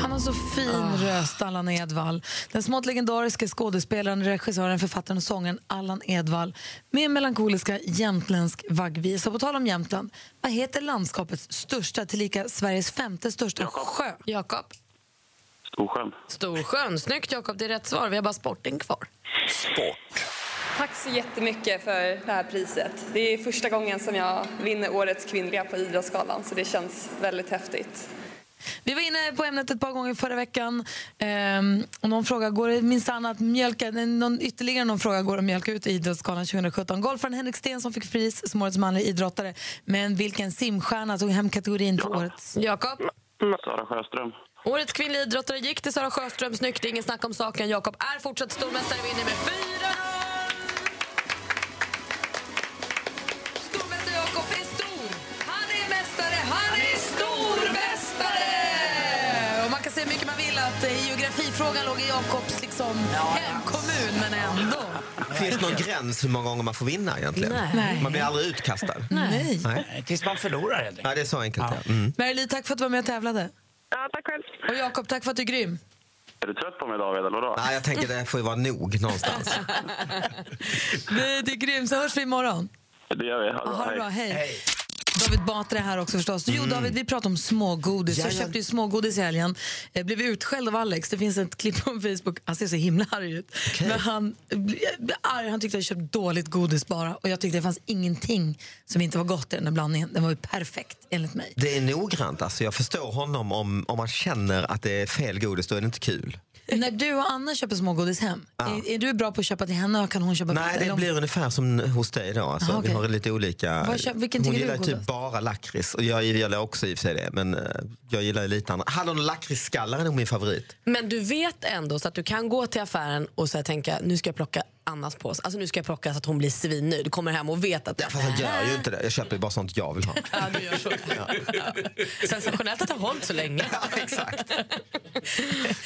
S2: Han har så fin röst, Allan Edwall. Den smått legendariske skådespelaren, regissören, författaren och sångaren Allan Edwall med melankoliska jämtländsk vaggvisa. På tal om Jämtland, vad heter landskapets största, tillika Sveriges femte största sjö?
S3: Jakob.
S6: Storsjön.
S3: Storsjön. Snyggt, Jakob. Det är rätt svar. Vi har bara sporten kvar.
S13: Sport.
S17: Tack så jättemycket för det här priset. Det är första gången som jag vinner Årets kvinnliga på Idrottsgalan så det känns väldigt häftigt.
S2: Vi var inne på ämnet ett par gånger förra veckan. Ehm, och någon fråga, går det minsann att mjölka, nej, någon, ytterligare någon fråga går att mjölka ut i Idrottsgalan 2017. Golfaren Henrik Sten som fick pris som årets manliga idrottare. Men vilken simstjärna tog hem kategorin till årets?
S3: Jakob?
S18: Sara Sjöström.
S3: Årets kvinnliga idrottare gick till Sara Sjöström. Snyggt, det är ingen snack om saken. Jakob är fortsatt stormästare och vinner med 4-0! Stormästare Jakob är stor! Han är mästare! Han är stormästare!
S2: Och man kan säga mycket man vill att eh, geografifrågan låg i Jakobs liksom, hemkommun, men ändå.
S19: Finns det någon gräns hur många gånger man får vinna egentligen?
S2: Nej.
S19: Man blir aldrig utkastad?
S2: Nej.
S4: Eh,
S19: Tills man förlorar helt enkelt. Ja, det är så enkelt. Ja. Mm.
S2: Merli, tack för att du var med och tävlade. Ja, tack själv. Och Jakob, tack för att du är grym.
S18: Är du trött på mig David, eller vadå?
S19: Nej, jag tänker det får ju vara nog någonstans.
S2: Du, du är grym, så hörs vi imorgon.
S18: Det gör vi. Ha
S2: Ha det bra, hej. David Batra är här också förstås. Jo, David, vi pratar om smågodis. Jag
S19: Mm. Jajamän.
S2: köpte ju smågodis i helgen. Jag blev utskälld av Alex. Det finns ett klipp på Facebook. Han ser så himla arg ut. Men han blev blev arg. Han tyckte jag köpt dåligt godis bara. Och jag tyckte det fanns ingenting som inte var gott i den där blandningen. Den var ju perfekt, enligt mig.
S19: Det är noggrant. Alltså, jag förstår honom om, om man känner att det är fel godis, då är det inte kul.
S2: När du och Anna köper smågodis hem, är, är du bra på att köpa till henne och kan hon köpa
S19: Nej,
S2: eller
S19: det
S2: om-
S19: blir ungefär som hos dig då. Alltså,
S2: Ah, okej.
S19: Vi har lite olika...
S2: Vad kö- vilken
S19: Hon
S2: tycker du
S19: gillar
S2: är
S19: typ
S2: godast?
S19: bara lakrits. Och jag gillar också i och för sig det, men eh, jag gillar ju lite annat. Hallon och lakritsskallar är nog min favorit.
S3: Men du vet ändå så att du kan gå till affären och så här tänka nu ska jag plocka Annas påse. Alltså nu ska jag plocka så att hon blir svinnöjd. Kommer hem och vet att... Ja,
S19: Fast jag gör ju inte det. Jag köper ju bara sånt jag vill ha.
S3: Sensationellt att det har hållit så länge.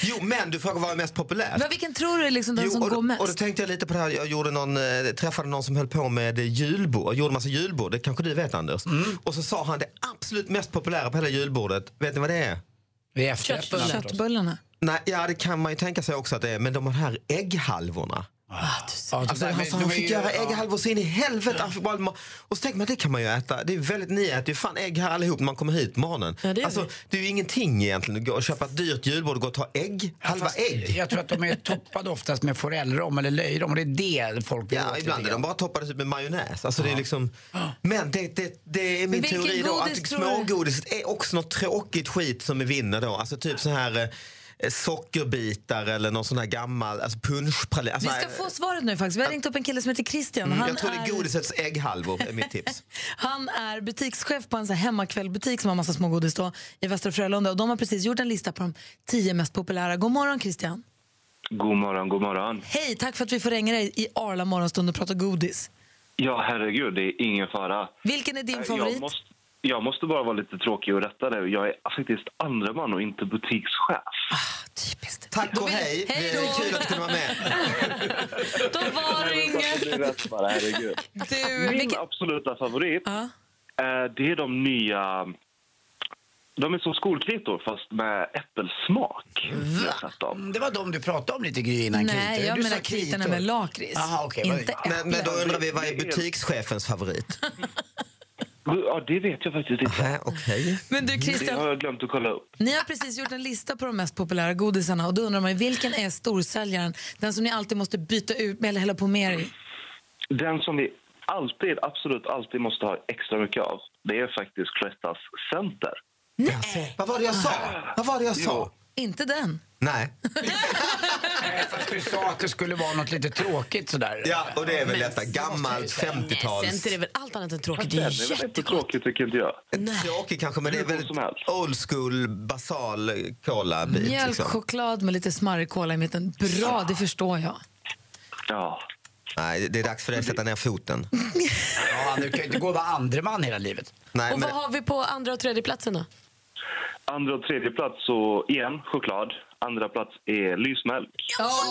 S19: Jo, men du frågar vad är mest populärt.
S2: Vad- Vilken tror du är liksom den
S19: Jo,
S2: som
S19: och,
S2: går mest?
S19: och då tänkte jag lite på det här. Jag gjorde någon, eh, träffade någon som höll på med eh, julbord. Jag gjorde massa julbord. Det kanske du vet Anders. Och så sa han det absolut mest populära på hela julbordet. Vet ni vad det är?
S4: Det är
S2: Köttbullarna. Köttbullarna.
S19: Nej, ja det kan man ju tänka sig också att det är. Men de här ägghalvorna. Alltså, han, sa, han fick göra ägghalvor så in i helvete. Han fick bara ma- Och så tänker man, det kan man ju äta. Det är väldigt, ni äter ju fan ägg här allihop när man kommer hit på morgonen.
S4: det gör
S19: alltså, det är ju ingenting egentligen att gå och köpa ett dyrt julbord och gå och ta ägg. Halva
S4: Fast
S19: ägg.
S4: Jag tror att de är toppade oftast med forellrom eller löjrom. Och det är det folk vill
S19: Ja,
S4: åt
S19: ibland
S4: lite
S19: är de
S4: grann.
S19: bara toppade typ med majonnäs. Alltså, det är liksom, men det, det, det är
S4: Men
S19: min
S4: vilken
S19: teori då
S4: godis
S19: att
S4: tror du-
S19: smågodiset är också något tråkigt skit som är vinner då. Alltså typ så här eh, sockerbitar eller någon sån här gammal alltså punschpralin. Alltså,
S2: Vi ska
S19: eh,
S2: få svaret nu faktiskt. Vi har ringt upp en kille som heter Christian.
S19: mm,
S2: Han,
S19: jag tror det
S2: är,
S19: är godisets ägghalvor är mitt tips.
S2: han är butikschef på en sån här hemmakvällbutik som har massa smågodis då, i Västra Frölunda. Och de har precis gjort en lista på de tio mest populära. God morgon Christian.
S20: God morgon, god morgon.
S2: Hej, tack för att vi får ringa dig i Arla morgonstund och prata godis.
S20: Ja, herregud, det är ingen fara. Eh,
S2: Vilken är din
S20: Jag
S2: favorit?
S20: måste- Jag måste bara vara lite tråkig och rätta det. Jag är faktiskt andra man och inte butikschef.
S2: Ah,
S19: Tack och hej.
S2: Hej
S19: Det är kul att du kunde vara med.
S2: Då var det inget. Du,
S20: Min
S2: vilken-
S20: absoluta favorit, eh, det är de nya... De är som skolkritor, fast med äppelsmak. Jag har sett dem.
S4: Det var de du pratade om lite Gry innan
S2: Nej,
S4: kritor.
S2: jag
S4: Du
S2: menar
S4: sa kritor.
S2: kritorna med lakrits.
S4: Aha, okej, vad-
S2: Inte
S19: Men, men då
S2: äpplen.
S19: undrar vi, vad är butikschefens favorit?
S20: Ja, det vet jag faktiskt inte.
S19: Okej.
S2: Men du, Christian-
S20: Det har jag glömt att kolla upp.
S2: Ni har precis gjort en lista på de mest populära godisarna och då undrar man ju, vilken är storsäljaren? Den som ni alltid måste byta ut eller hälla på mer i?
S20: Den som vi alltid, absolut alltid måste ha extra mycket av, det är faktiskt Cloettas Center.
S19: Nej. Vad var det jag sa? Vad var det jag sa?
S2: Inte den.
S19: Nej.
S4: Fast du sa att det skulle vara något lite tråkigt sådär.
S19: Ja, och det är väl detta gammalt
S3: Nej,
S19: 50-tals...
S3: Center är väl allt annat än tråkigt. Det
S20: Den
S3: är
S20: är väl
S3: jätte...
S20: inte tråkig, tycker inte jag.
S19: Tråkig kanske, men det är väldigt old school, basal colabit.
S2: Mjölk, choklad med lite smarrig cola i mitten. Bra, det förstår jag.
S20: Ja.
S19: Nej, det är dags för dig att sätta ner foten.
S4: Ja, du kan ju inte gå och vara andre man hela livet.
S19: Nej,
S3: Och
S19: men
S3: vad har vi på andra och tredje platsen då?
S20: Andra och tredje plats så igen, choklad. Andra plats är lysmjölk.
S2: Åh,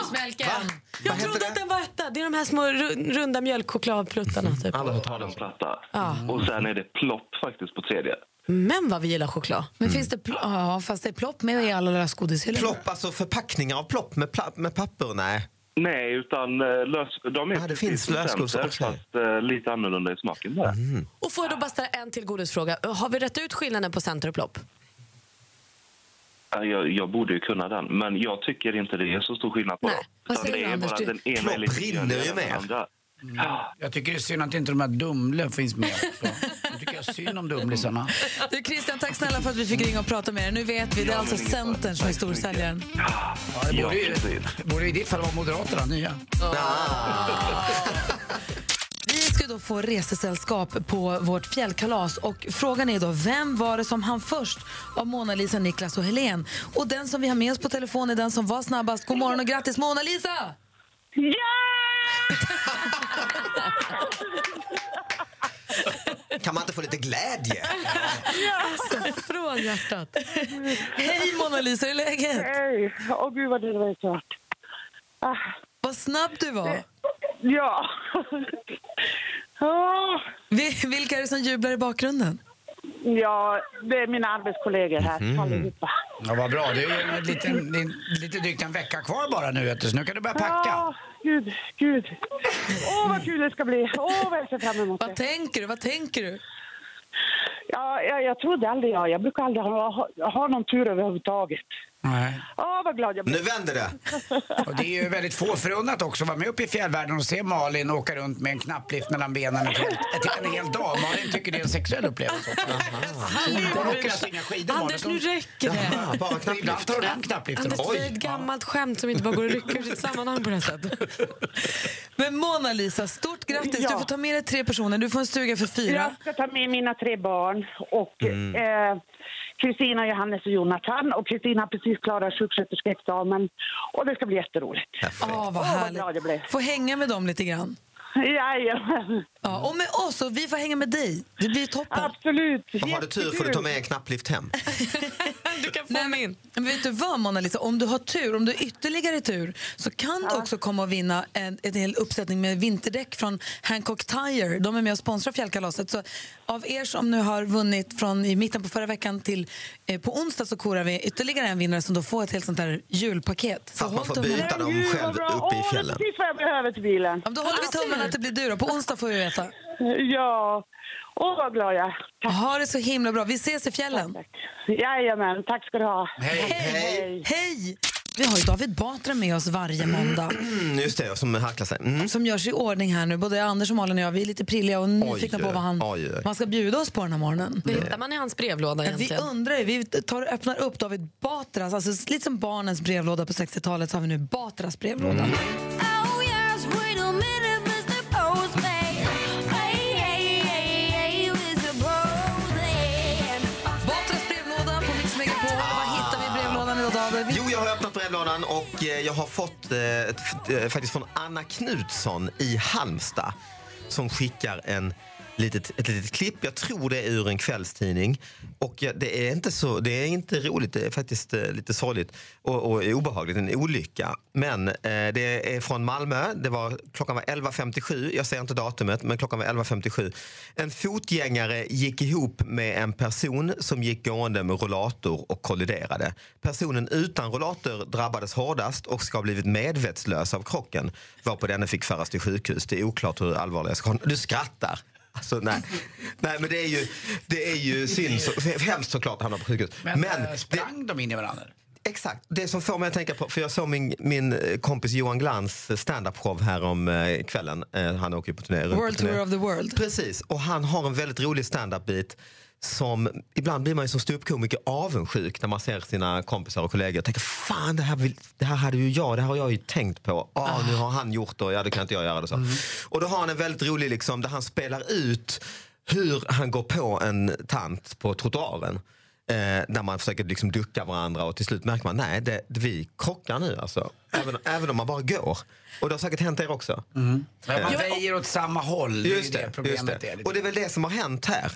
S2: lysmjölken!
S3: Jag trodde att den var etta. Det är de här små ru- runda mjölkchokladpluttarna. Typ.
S20: Alla har den platta.
S3: Ja.
S20: Mm. Och sen är det plopp faktiskt på tredje.
S3: Men vad vi gillar choklad.
S19: Mm.
S2: Men finns det pl- ja, fast det är plopp med i alla deras godishyllor.
S19: plopp, alltså förpackningar av plopp med, pla- med papper? Nej.
S20: Nej, utan eh, lös... De är
S19: det
S20: precis
S19: finns
S20: som
S19: lösgodis,
S20: Center,
S19: okej.
S20: fast eh, lite annorlunda i smaken bara.
S4: Mm.
S3: Och får jag då bara ställa en till godisfråga. Har vi rätt ut skillnaden på center och plopp?
S20: Ja, Jag, jag borde ju kunna den, men jag tycker inte det är så stor skillnad på
S4: Nej.
S20: dem.
S4: Vad
S20: Utan
S4: säger
S20: det
S4: du,
S20: är
S4: Anders?
S20: bara
S4: Du-
S20: att den ena är
S4: Klopp
S20: lite
S4: rinner
S20: grönare
S4: ju
S20: än
S4: med.
S20: den andra.
S4: Jag tycker det är synd att inte de här Dumle finns med. också. Jag tycker jag synd om Dumlisarna.
S2: Du Christian, tack snälla för att vi fick ringa och prata med er. Nu vet vi, det är
S4: Ja,
S2: alltså
S4: men ungefär.
S2: Centern som är storsäljaren.
S4: Ja, det borde, ju, borde i ditt fall vara Moderaterna, nya.
S2: Vi ska då få resesällskap på vårt fjällkalas och frågan är då vem var det som hann först av Mona Lisa, Niklas och Helen? Och den som vi har med oss på telefon är den som var snabbast. God morgon och grattis Mona Lisa!
S19: Kan man inte få lite glädje?
S2: Så från hjärtat. Hej Mona Lisa, hur är läget?
S21: Hej! Åh gud vad det var klart.
S2: Vad snabb du var.
S21: Ja. Ah.
S2: Vi- Vilka är det som jublar i bakgrunden?
S21: Ja, det är mina arbetskollegor här
S4: Mhm.
S21: allihopa.
S4: Ja, vad bra. Det är ju en liten, det är lite drygt en vecka kvar bara nu, vet du. så nu kan du börja packa.
S21: Ja, gud, gud. Åh vad kul det ska bli. Åh vad jag ser fram emot
S2: Vad tänker du? Vad tänker du?
S21: Ja, jag, jag trodde aldrig jag. Jag brukar aldrig ha, ha, ha någon tur överhuvudtaget.
S4: Nej.
S21: Åh vad glad jag blir.
S4: Nu vänder
S19: det.
S4: Och det är ju väldigt få förunnat också att vara med uppe i fjällvärlden och se Malin åka runt med en knapplift mellan benen ett helt, ett, en hel dag. Malin tycker det är en sexuell upplevelse också. Hon åker alltså inga skidor, Malin.
S3: Anders, nu räcker det.
S4: Jaha, bara knapplift. Ibland tar du hem knappliften.
S3: Anders, det är ett gammalt skämt som inte bara går att rycka ur sitt sammanhang på det här sättet.
S2: Men Mona Lisa, stort grattis. Du får ta med dig tre personer. Du får en stuga för fyra.
S21: Jag ska ta med mina tre barn och
S19: Mm.
S21: eh, Kristina, Johannes och Jonathan. Och Kristina har precis klarat sjuksköterskeexamen och det ska bli jätteroligt.
S2: Åh, vad härligt. Få hänga med dem lite grann.
S21: Jajamän.
S2: Ja, och med oss, och vi får hänga med dig. Det blir toppen.
S21: Absolut.
S19: Och har du tur får du ta med en knapplift hem.
S2: Du kan få Nej, min. Men vet du vad, Mona Lisa? Om du har tur, om du har ytterligare tur så kan du också komma och vinna en, en hel uppsättning med vinterdäck från Hancock Tire. De är med och sponsrar fjällkalaset. Så av er som nu har vunnit från i mitten på förra veckan till eh, på onsdag så korar vi ytterligare en vinnare som då får ett helt sånt här julpaket. Så
S19: man får byta dem
S21: Gud, vad
S19: själv
S21: bra.
S19: uppe i
S21: Åh,
S19: fjällen.
S21: Precis vad jag behöver till bilen.
S2: Då håller vi tummarna att det blir du då. På onsdag får vi veta.
S21: Ja. Åh, vad glad jag
S2: är. Ha det så himla bra. Vi ses i fjällen.
S21: Jajamän, tack ska du ha.
S2: Hej! Hej! Vi har ju David Batra med oss varje måndag.
S19: Mm, just det, som harklar sig. Mm.
S2: Som gör sig i ordning här nu. Både Anders och Malin och jag, vi är lite prilliga och nyfikna på vad han
S19: Oj, oj.
S2: man ska bjuda oss på den här morgonen.
S3: Vad hittar man i hans brevlåda
S2: Ja, vi
S3: egentligen?
S2: undrar ju, vi tar och öppnar upp David Batras, alltså lite som barnens brevlåda på 60-talet så har vi nu Batras brevlåda.
S19: Mm.
S2: Batras brevlåda på Mix Megapol. Vad hittar vi i brevlådan idag David?
S19: Jo, jag har öppnat brevlådan och eh, jag har fått eh, ett, f- eh, faktiskt från Anna Knutsson i Halmstad som skickar en litet, ett litet klipp. Jag tror det är ur en kvällstidning. Och ja, det, är inte så, det är inte roligt, det är faktiskt eh, lite sorgligt och, och obehagligt. En olycka. Men eh, det är från Malmö. Det var, klockan var 11.57. Jag säger inte datumet, men klockan var 11.57. En fotgängare gick ihop med en person som gick gående med rollator och kolliderade. Personen utan rollator drabbades hårdast och ska ha blivit medvetslös av krocken varpå denne fick föras till sjukhus. Det är oklart hur allvarliga skadorna... Du skrattar! Alltså, nej. nej, men det är ju, det är ju synd. Så, hemskt såklart att hamna på sjukhus.
S4: Men, eh, sprang de in i varandra?
S19: Exakt. Det som får mig att tänka på, för jag såg min, min eh, kompis Johan Glans eh, standup-show här om eh, kvällen. Eh, Han åker ju på turné. runt på
S2: World
S19: turné.
S2: Tour of the World.
S19: Precis, och han har en väldigt rolig standup-bit som ibland blir man ju som ståuppkomiker avundsjuk när man ser sina kompisar och kollegor och tänker fan det här, vill, det här hade ju jag, det här har jag ju tänkt på. Ah, nu har han gjort det och ja, det kan inte jag göra. Det, så. Och då har han en väldigt rolig liksom där han spelar ut hur han går på en tant på trottoaren. Eh, där man försöker liksom ducka varandra och till slut märker man nej, det, vi krockar nu alltså. Även, även om man bara går. Och det har säkert hänt er också.
S4: Men man
S19: Eh.
S4: väjer åt samma håll. Det är ju
S19: Just
S4: det
S19: det,
S4: problemet
S19: just det.
S4: är. lite.
S19: Och det är väl det som har hänt här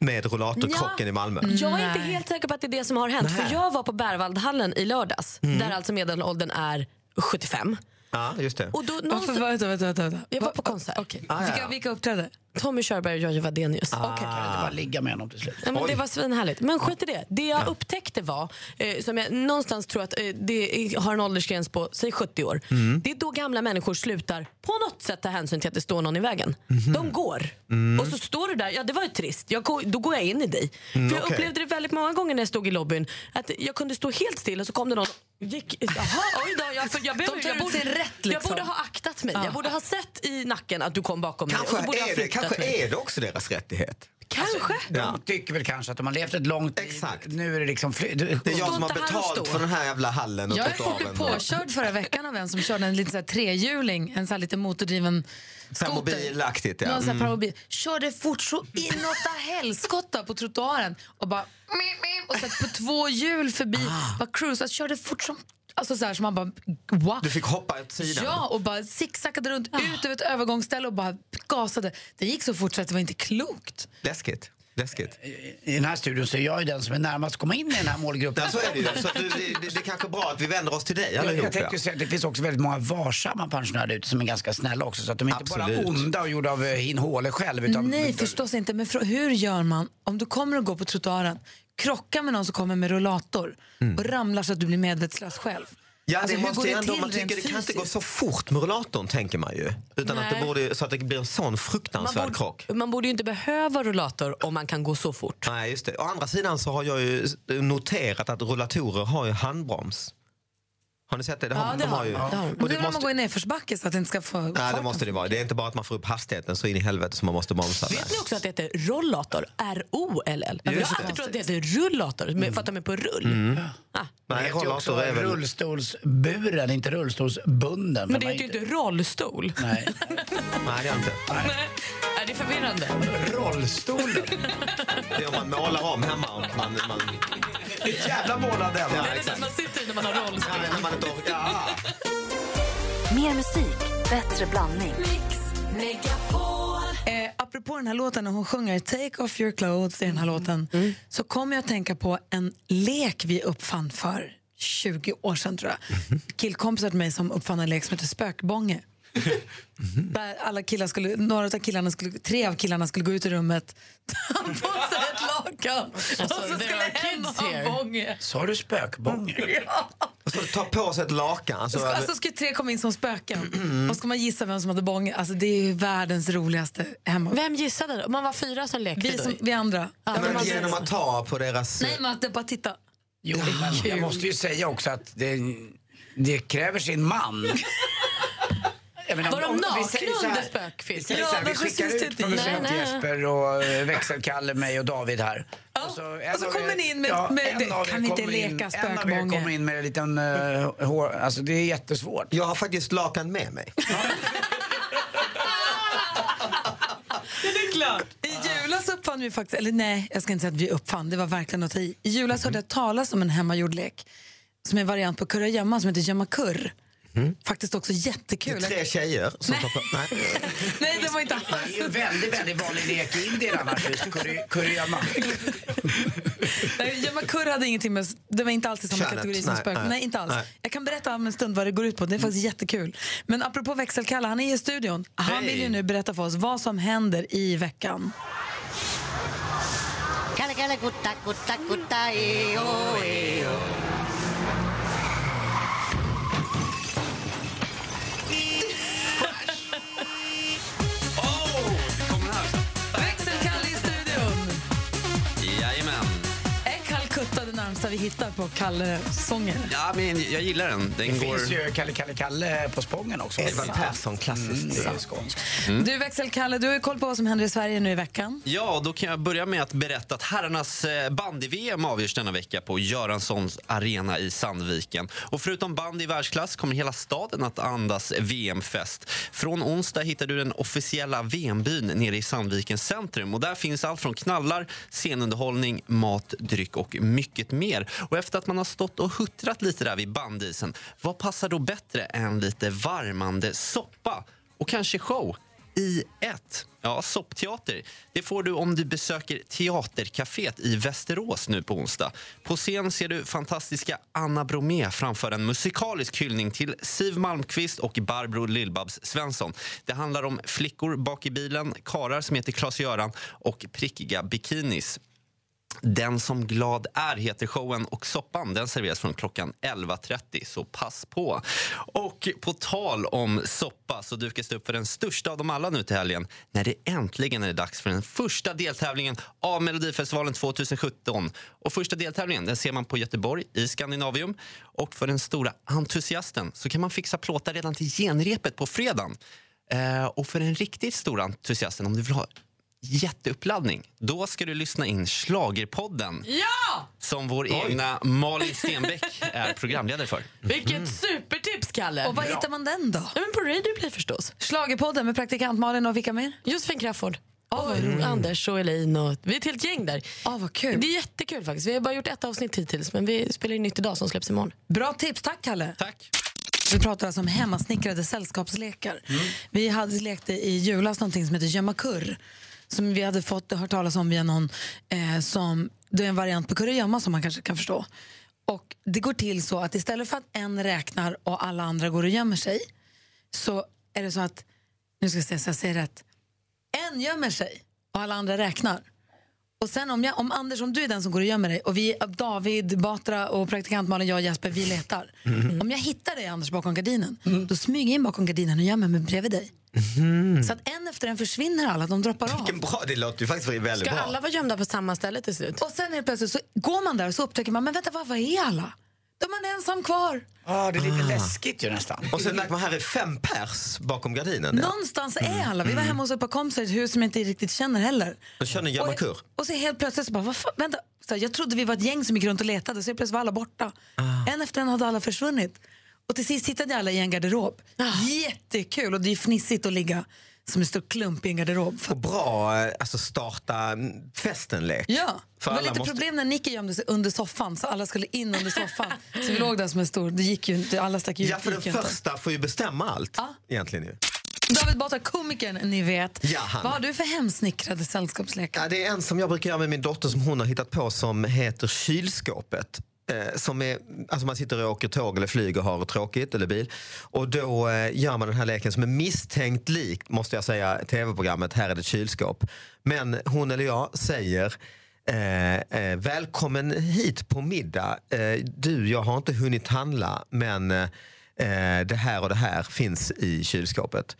S19: med rollatorkrocken
S3: Ja.
S19: i Malmö.
S3: Jag är inte helt säker på att det är det som har hänt.
S19: Nej.
S3: För Jag var på Berwaldhallen i lördags
S19: Mm.
S3: där alltså medelåldern är 75.
S19: Ja, just det.
S3: Och då,
S2: Varför,
S3: någonstans-
S2: vänta, vänta, vänta, vänta.
S3: Jag var på konsert. Okay.
S2: Ah, ja, Vilka- ja. uppträdde?
S3: Tommy Körberg och Georgie Wadenius.
S19: Ah.
S4: Det var ligga med honom till slut.
S3: Ja, men det var svinhärligt. Men skit i det. Det jag
S4: Ja.
S3: upptäckte var, eh, som jag någonstans tror att eh, det är- har en åldersgräns på, säg 70 år.
S19: Mm.
S3: Det är då gamla människor slutar på något sätt ta hänsyn till att det står någon i vägen.
S19: Mhm.
S3: De går.
S19: Mm.
S3: Och så står du där, ja det var ju trist, jag, går- då går jag in i dig.
S19: Mm,
S3: För jag
S19: okej.
S3: upplevde det väldigt många gånger när jag stod i lobbyn, att jag kunde stå helt still och så kom det någon gick, jaha, oj då, jag, för jag, behöver,
S2: tar
S3: jag,
S2: ut
S3: borde,
S2: sin rätt,
S3: jag
S2: liksom.
S3: borde ha aktat mig.
S2: Ja.
S3: Jag borde ha sett i nacken att du kom bakom mig.
S19: Kanske,
S3: och så borde jag ha
S19: är det,
S3: flyttat
S19: kanske
S3: mig.
S19: är Alltså, det också deras rättighet.
S3: Kanske.
S4: De tycker väl kanske att de har levt ett långt liv. Nu är det liksom... Fly- du,
S19: Det är jag som har betalt för den här jävla hallen och
S2: Jag jag blev
S19: trottoaren.
S2: påkörd förra veckan av en som körde en liten så här trehjuling, en så här lite motordriven skoter.
S19: Permobilaktigt, ja.
S2: Någon sån här
S19: Mm.
S2: permobil. Körde fort så inåtta helskotta på trottoaren och bara mip, mip, och satt på två hjul förbi.
S19: Ah.
S2: Bara cruisade, körde fort som Alltså så här som man bara, wow.
S19: Du fick hoppa åt sidan. Ah.
S2: Ja, och bara zigzaggade runt ut över ett övergångsställe och bara gasade. Det gick så fort så att det var inte klokt.
S19: Läskigt. Läskigt.
S4: I den här studion så är jag ju den som är närmast att komma in i den här målgruppen.
S19: Ja, så är det ju. Så att du, det, det, det är kanske bra att vi vänder oss till dig
S4: Jag,
S19: allihopa.
S4: jag tänkte säga att det finns också väldigt många varsamma pensionärer ute som är ganska snälla också. Så att de är inte
S19: Absolut.
S4: bara onda och gjorda av eh, hin håle själv. Utan
S2: Nej, förstås inte. Men frå- hur gör man om du kommer att gå på trottoaren, krockar med någon som kommer med rullator
S19: Mm.
S2: och ramlar så att du blir medvetslös själv?
S19: Ja,
S2: Alltså,
S19: det
S2: hur går
S19: måste
S2: det
S19: jag ändå,
S2: till
S19: man
S2: rent
S19: tycker det kan inte gå
S2: fysiskt?
S19: så fort med rullatorn tänker man ju. Utan att
S3: Nej.
S19: det borde, så att det blir en sån fruktansvärd
S3: Man borde-
S19: krock.
S3: Man borde ju inte behöva rullator om man kan gå så fort.
S19: Nej, just det. Å andra sidan så har jag ju noterat att rullatorer har ju handbroms. Har ni sett det? det har,
S2: Ja, det har
S19: ju.
S2: de. Det har de.
S19: Och
S2: Men det
S19: det
S2: är när man
S19: måste,
S2: går i nedförsbacke så att det inte ska få...
S19: nej, det måste det vara. Det är inte bara att man får upp hastigheten så in i helvete som man måste bromsa.
S3: Vet ni också att det heter rollator? R-O-L-L. Jag har
S19: Just
S3: alltid trott att det heter rullator, men för att de är på rull.
S19: Mm.
S3: Ah.
S4: Nej, det heter ju också
S19: rullator är väl-
S4: rullstolsburen, inte rullstolsbunden.
S3: Men det heter ju inte rollstol.
S4: Nej.
S19: Nej, det är inte.
S3: Nej. Är det är förvirrande?
S4: Rollstolen.
S19: Det är om man målar om hemma. Om man, man...
S4: Jävla målad den
S19: ja,
S3: det är den
S19: exakt.
S3: man sitter i när man har rollstol.
S19: Ja, när man inte orkar. Ja.
S8: Mer musik, bättre blandning.
S2: Eh, apropå den här låten, när hon sjunger Take off your clothes i den här låten
S19: Mm.
S2: så kom jag att tänka på en lek vi uppfann för 20 år sedan tror jag.
S19: Mhm.
S2: Killkompisar till mig som uppfann en lek som heter spökbånge.
S19: Mhm.
S2: Där alla killar skulle, några av killarna skulle, tre av killarna skulle gå ut i rummet, ta på sig ett lakan och så
S3: Alltså, there
S2: skulle
S3: are
S2: en
S3: kids
S2: ha
S3: here.
S2: bånge.
S4: Sa du spökbånge?
S19: Och så tar på sig ett lakan. Alltså,
S2: Ska, alltså ska tre komma in som spöken och ska man gissa vem som hade bånge. Alltså det är ju världens roligaste hemma.
S3: Vem Alltså- gissade då? Man var fyra som lekte
S2: Vi,
S3: då.
S2: som, vi andra.
S3: Ja,
S2: men
S19: men
S2: man-
S19: genom att ta på deras...
S2: Nej, men att det bara titta.
S4: Jo, men jag måste ju säga också att det, det kräver sin man. Jag menar,
S3: Var de
S4: om- om vi
S3: nakna
S4: säger så här-
S3: under spökfilmen?
S4: Vi, ja, vi skickar ut producent Jesper och eh, växelkalle, mig och David här. Och så, en
S2: och så
S4: av
S2: kommer
S4: er-
S2: ni in med-
S4: ja,
S2: med-
S4: en
S2: det-
S4: av er
S2: kan vi inte
S4: kommer
S2: leka
S4: in- En av
S2: spökbånge?
S4: er kommer in med en liten eh, hår... Alltså det är jättesvårt.
S19: Jag har faktiskt lakan med mig.
S2: Det är klart. I julas uppfann vi faktiskt, eller nej, jag ska inte säga att vi uppfann, det var verkligen att ta i. I julas hörde jag talas om en hemmagjord lek som är en variant på kurragömma som heter gömmakurr. Faktiskt också jättekul.
S19: Tre tjejer som tar på... Nej.
S2: Nej, det var inte alls.
S4: Det är ju en väldigt, väldigt vanlig lek i Indien annars, just kurri- kurragömma.
S2: Nej, Gömmakurr hade ingenting med, det var inte alls i samma
S4: Könet,
S2: kategori som
S4: nej,
S2: spöken. Nej,
S4: nej,
S2: inte alls.
S4: nej.
S2: Jag kan berätta om en stund vad det går ut på, det är faktiskt jättekul. Men apropå växelkalla, han är i studion. Han
S22: Hej.
S2: vill ju nu berätta för oss vad som händer i veckan.
S22: Kalle, kalle, gutta, gutta, gutta, eo, eo.
S2: Växelkalle i studion!
S10: Jajamän.
S2: Är Calcutta det närmsta vi hittar på Kalle-sången?
S10: Ja, men jag gillar den.
S4: Det
S10: den går...
S4: finns ju Kalle Kalle Kalle på Spången också.
S10: Edvard
S19: Persson,
S4: klassiskt. det är skånskt.
S2: Du växelkalle, du har ju koll på vad som händer i Sverige nu i veckan.
S10: Ja, då kan jag börja med att berätta att herrarnas eh, bandy-VM avgörs denna vecka på Göranssons arena i Sandviken. Och förutom bandy i världsklass kommer hela staden att andas VM-fest. Från onsdag hittar du den officiella VM-byn nere i Sandvikens centrum. Och där finns allt från knallar, scenunderhållning, mat, dryck och mycket mer. Och efter att man har stått och huttrat lite där vid bandisen, vad passar då bättre än lite varmande soppa och kanske show? i ett. Ja, soppteater. Det får du om du besöker Teatercaféet i Västerås nu på onsdag. På scen ser du fantastiska Anna Bromé framföra en musikalisk hyllning till Siv Malmqvist och Barbro Lillbabs Svensson. Det handlar om flickor bak i bilen, karar som heter Klas-Göran och prickiga bikinis. Den som glad är heter showen och soppan den serveras från klockan 11.30, så pass på. Och på tal om soppa så dukas det upp för den största av dem alla nu till helgen när det äntligen är dags för den första deltävlingen av Melodifestivalen 2017. Och första deltävlingen den ser man på Göteborg i Skandinavium. Och för den stora entusiasten så kan man fixa plåtar redan till genrepet på fredagen. Eh, och för den riktigt stora entusiasten, om du vill ha jätteuppladdning, då ska du lyssna in Schlagerpodden
S3: Ja!
S10: som vår
S3: Oj.
S10: egna Malin Stenbeck är programledare för.
S3: Vilket supertips, Kalle!
S2: Och var hittar man den då?
S3: Ja, men på Radioplay förstås.
S2: Schlagerpodden med praktikant Malin och vilka mer?
S3: Josefin Crafoord. Oh, Anders och Elin. Och, vi är ett helt gäng där.
S2: Oh, vad kul.
S3: Det är jättekul faktiskt. Vi har bara gjort ett avsnitt hittills men vi spelar in nytt idag som släpps imorgon.
S2: Bra tips, tack Kalle.
S10: Tack.
S2: Vi pratar alltså om hemmasnickrade sällskapslekar. Vi hade lekte i julas någonting som heter gömma kurr. Som vi hade fått hört talas om via någon eh, som, det är en variant på kurragömma som man kanske kan förstå. Och det går till så att istället för att en räknar och alla andra går och gömmer sig så är det så att, nu ska jag se så jag säger rätt, en gömmer sig och alla andra räknar. Och sen om, jag, om Anders, om du är den som går och gömmer dig och vi, David, Batra och praktikant Malin, jag och Jesper, vi letar.
S19: Mm.
S2: Om jag hittar dig Anders bakom gardinen, då smyger jag in bakom gardinen och gömmer mig bredvid dig. Så att en efter en försvinner alla, de droppar av.
S19: Mm. Vilken bra, det låter ju faktiskt väldigt bra.
S3: vara gömda på samma ställe till slut?
S2: Och sen helt plötsligt så går man där och så upptäcker man, men vänta, var, var är alla? Då är man ensam kvar.
S4: Ja, det är lite
S19: Ah.
S4: läskigt ju nästan.
S19: Och sen märker man här är fem pers bakom gardinen. Ja. Mm.
S2: Någonstans är alla. Vi var hemma hos ett par kompisar i ett hus som jag inte riktigt känner heller.
S19: Då kör ni gammal kurr.
S2: Och så helt plötsligt så bara, vad fan, vänta. Så här, jag trodde vi var ett gäng som gick runt och letade, så helt plötsligt var alla borta.
S19: Ah.
S2: En efter en hade alla försvunnit. Och till sist hittade jag alla i en garderob.
S19: Ah.
S2: Jättekul! Och det är ju fnissigt att ligga som en stor klump i en garderob. För...
S19: Bra, eh, alltså starta mm, festen-lek.
S2: Ja,
S19: För
S2: det var
S19: alla
S2: lite
S19: måste-
S2: problem när Nicky gömde sig under soffan så alla skulle in under soffan. så vi låg där som en stor, det gick ju inte, alla stack ju ut.
S19: Ja, för
S2: det
S19: den
S2: gick ju inte.
S19: första får ju bestämma allt. Egentligen ju.
S2: David Batra, komikern ni vet.
S19: Ja, han.
S2: Vad har du för hemsnickrade sällskapslekar?
S19: Ja, det är en som jag brukar göra med min dotter som hon har hittat på som heter kylskåpet. Eh, som är, alltså man sitter och åker tåg eller flyg och har tråkigt eller bil. Och då eh, gör man den här leken som är misstänkt likt, måste jag säga, tv-programmet Här är det ett kylskåp. Men hon eller jag säger Eh, eh, välkommen hit på middag. Eh, du, jag har inte hunnit handla men eh, eh, det här och det här finns i kylskåpet.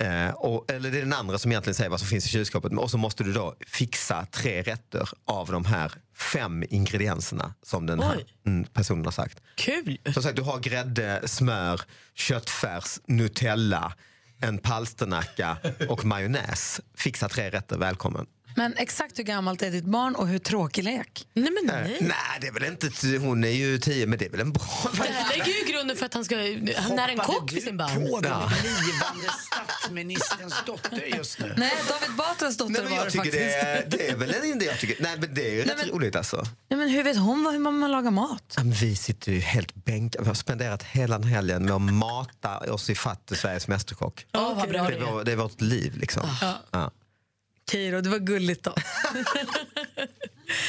S19: Eh, och, eller det är den andra som egentligen säger vad som finns i kylskåpet. Men- Och så måste du då fixa tre rätter av de här fem ingredienserna som den här
S3: Oj.
S19: mm, personen har sagt.
S3: Kul!
S19: Som sagt, du har grädde, smör, köttfärs, nutella, en palsternacka och majonnäs. Fixa tre rätter, välkommen.
S2: Men exakt hur gammalt är ditt barn och hur tråkig lek?
S3: Nej, men
S19: Eh, Nej. det är väl inte... t- Hon är ju tio, men det är väl en bra...
S3: Det här lägger ju grunden för att han ska han är en kock vid sin barn.
S19: på den Ja.
S4: blivande statsministerns dotter just nu.
S2: Nej, David Batras dotter
S19: Nej, men
S2: var det
S19: jag tycker
S2: faktiskt.
S19: det är, det är väl en idé. Jag tycker, nej, men det är ju rätt roligt alltså.
S2: Nej, men hur vet hon vad- hur man lagar mat?
S19: Ja, men Vi sitter ju helt bänkade. Vi har spenderat hela den helgen med att mata oss i fatt Sveriges Mästerkock.
S2: Åh, vad bra
S19: det, är vår, det är vårt liv liksom.
S2: Ja.
S19: Ja.
S2: Okej då, det var gulligt då.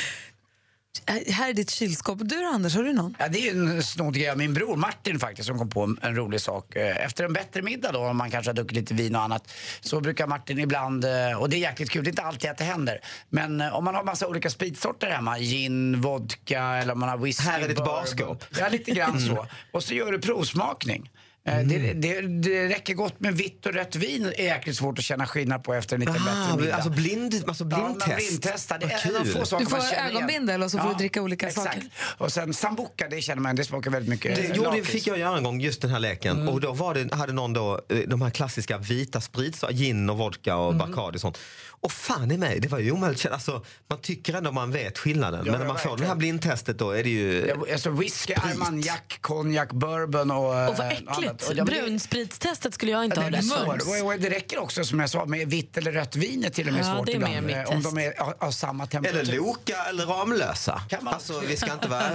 S2: Äh, Här är ditt kylskåp. Du då, Anders, har du någon?
S4: Ja, det är ju en snodd grej av min bror Martin faktiskt som kom på en, en rolig sak. Eh, Efter en bättre middag då, om man kanske har druckit lite vin och annat, så brukar Martin ibland, eh, och det är jäkligt kul, det är inte alltid att det händer, men eh, om man har massa olika spritsorter hemma, gin, vodka eller om man har whisky.
S19: Här är ditt
S4: bourbon.
S19: barskåp.
S4: Ja, lite grann så.
S19: Mm.
S4: Och så gör du provsmakning. Eh, Det, det, det räcker gott med vitt och rött vin är jäkligt svårt att känna skillnad på efter en lite
S19: Ah,
S4: bättre middag.
S19: alltså blind, alltså blindtest.
S4: Ja, man blindtestar. Det
S19: Vad
S4: är en av
S19: kul.
S4: få saker
S2: Du får
S4: man känner igen.
S2: ögonbindel och så får
S4: Ja,
S2: du dricka olika
S4: exakt.
S2: saker.
S4: Och sen sambuca, det känner man, det smakar väldigt mycket
S19: Det,
S4: eh,
S19: jo, det
S4: lakrits.
S19: fick jag göra en gång, just den här leken.
S4: Mm.
S19: Och då var det, hade någon då eh, de här klassiska vita sprits, gin och vodka och
S4: Mm.
S19: Bacardi och sånt. Och fan i mig, det var ju omöjligt. att känna- Alltså, man tycker ändå man vet skillnaden.
S4: Ja,
S19: men
S4: ja,
S19: när man får
S4: verkligen.
S19: det här blindtestet då är det ju...
S4: Ja, Alltså whisky, armagnac, konjak, bourbon och... eh,
S19: Åh, vad äckligt.
S4: annat. att- och ja, men det-
S3: Brunspritstestet skulle jag inte ha
S4: det,
S3: rätt för.
S4: mår, och- och det räcker också som jag sa med vitt eller rött vin är till och med
S3: Ja,
S4: svårt
S3: det är
S4: ibland.
S3: mer
S4: eh,
S3: mitt
S4: om
S3: test.
S4: de är av, av samma temperatur.
S19: Eller Loka eller Ramlösa.
S4: Kan man
S19: Alltså, vi ska inte vara...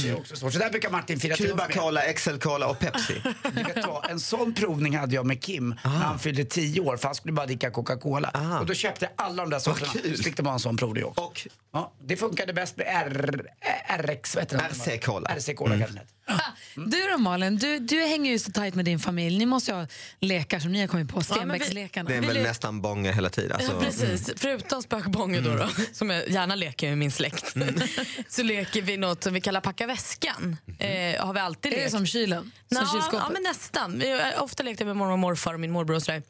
S4: Det är också svårt. Så där brukar Martin fira
S19: Cuba
S4: triumf med.
S19: Cola, XL Cola och Pepsi.
S4: brukar ta. En sån provning hade jag med Kim
S19: Ah.
S4: när han fyllde 10 år för han skulle bara dricka Coca-Cola. Och då köpte jag alla de där sorterna. Så fick det vara en sån provning också.
S19: Och?
S4: Ja, det funkade bäst med R, RX, vad heter den?
S19: RC-Cola.
S4: RC-Cola mm.
S2: Du då Malin, du, du hänger ju så tajt med din familj. Ni måste ju ha lekar som ni har kommit på,
S3: men vi-
S2: Stenbeckslekarna.
S19: Det är väl
S2: Vill du-
S19: nästan bånga hela tiden. Alltså.
S3: Ja, precis. Förutom spökbånge då, då, som jag gärna leker med min släkt, så leker vi något som vi kallar packa väskan. Eh, har vi alltid
S2: Är det
S3: lekt.
S2: som kylen? Som
S3: Nå,
S2: kylskåpet?
S3: ja, men nästan. Vi har ofta lekt med mormor och morfar och min morbror och sådär.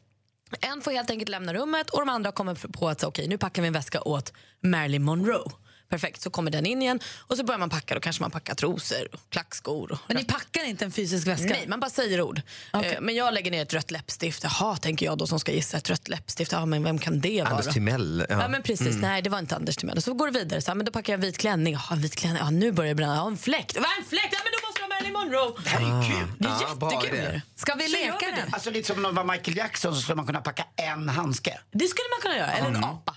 S3: En får helt enkelt lämna rummet och de andra kommer på att okej, nu packar vi en väska åt Marilyn Monroe. Perfekt, så kommer den in igen och så börjar man packa. Då kanske man packar trosor, och klackskor. och-
S2: Men ni packar inte en fysisk väska?
S3: Nej, man bara säger ord. Eh, Men jag lägger ner ett rött läppstift. Jaha, tänker jag då som ska gissa. Ett rött läppstift, ja, men vem kan det vara?
S19: Anders Timell.
S3: Ja. men precis,
S19: Mm.
S3: nej det var inte Anders Timell. Och Så går det vidare, så, här, men då packar jag en vit klänning. Jaha, en vit klänning. Ja, nu börjar det bränna. Ja, en fläkt. Vad är en fläkt? Ja, men då måste jag ha Marilyn Monroe. Det
S4: här är ju kul.
S3: Det är jättekul.
S19: Mm.
S2: Ska vi
S3: Så gör
S2: leka
S3: vi det?
S4: Ah. Alltså lite som om det var Michael Jackson så skulle man kunna packa en handske.
S3: Det skulle man kunna göra. Eller
S19: Mm.
S3: en apa.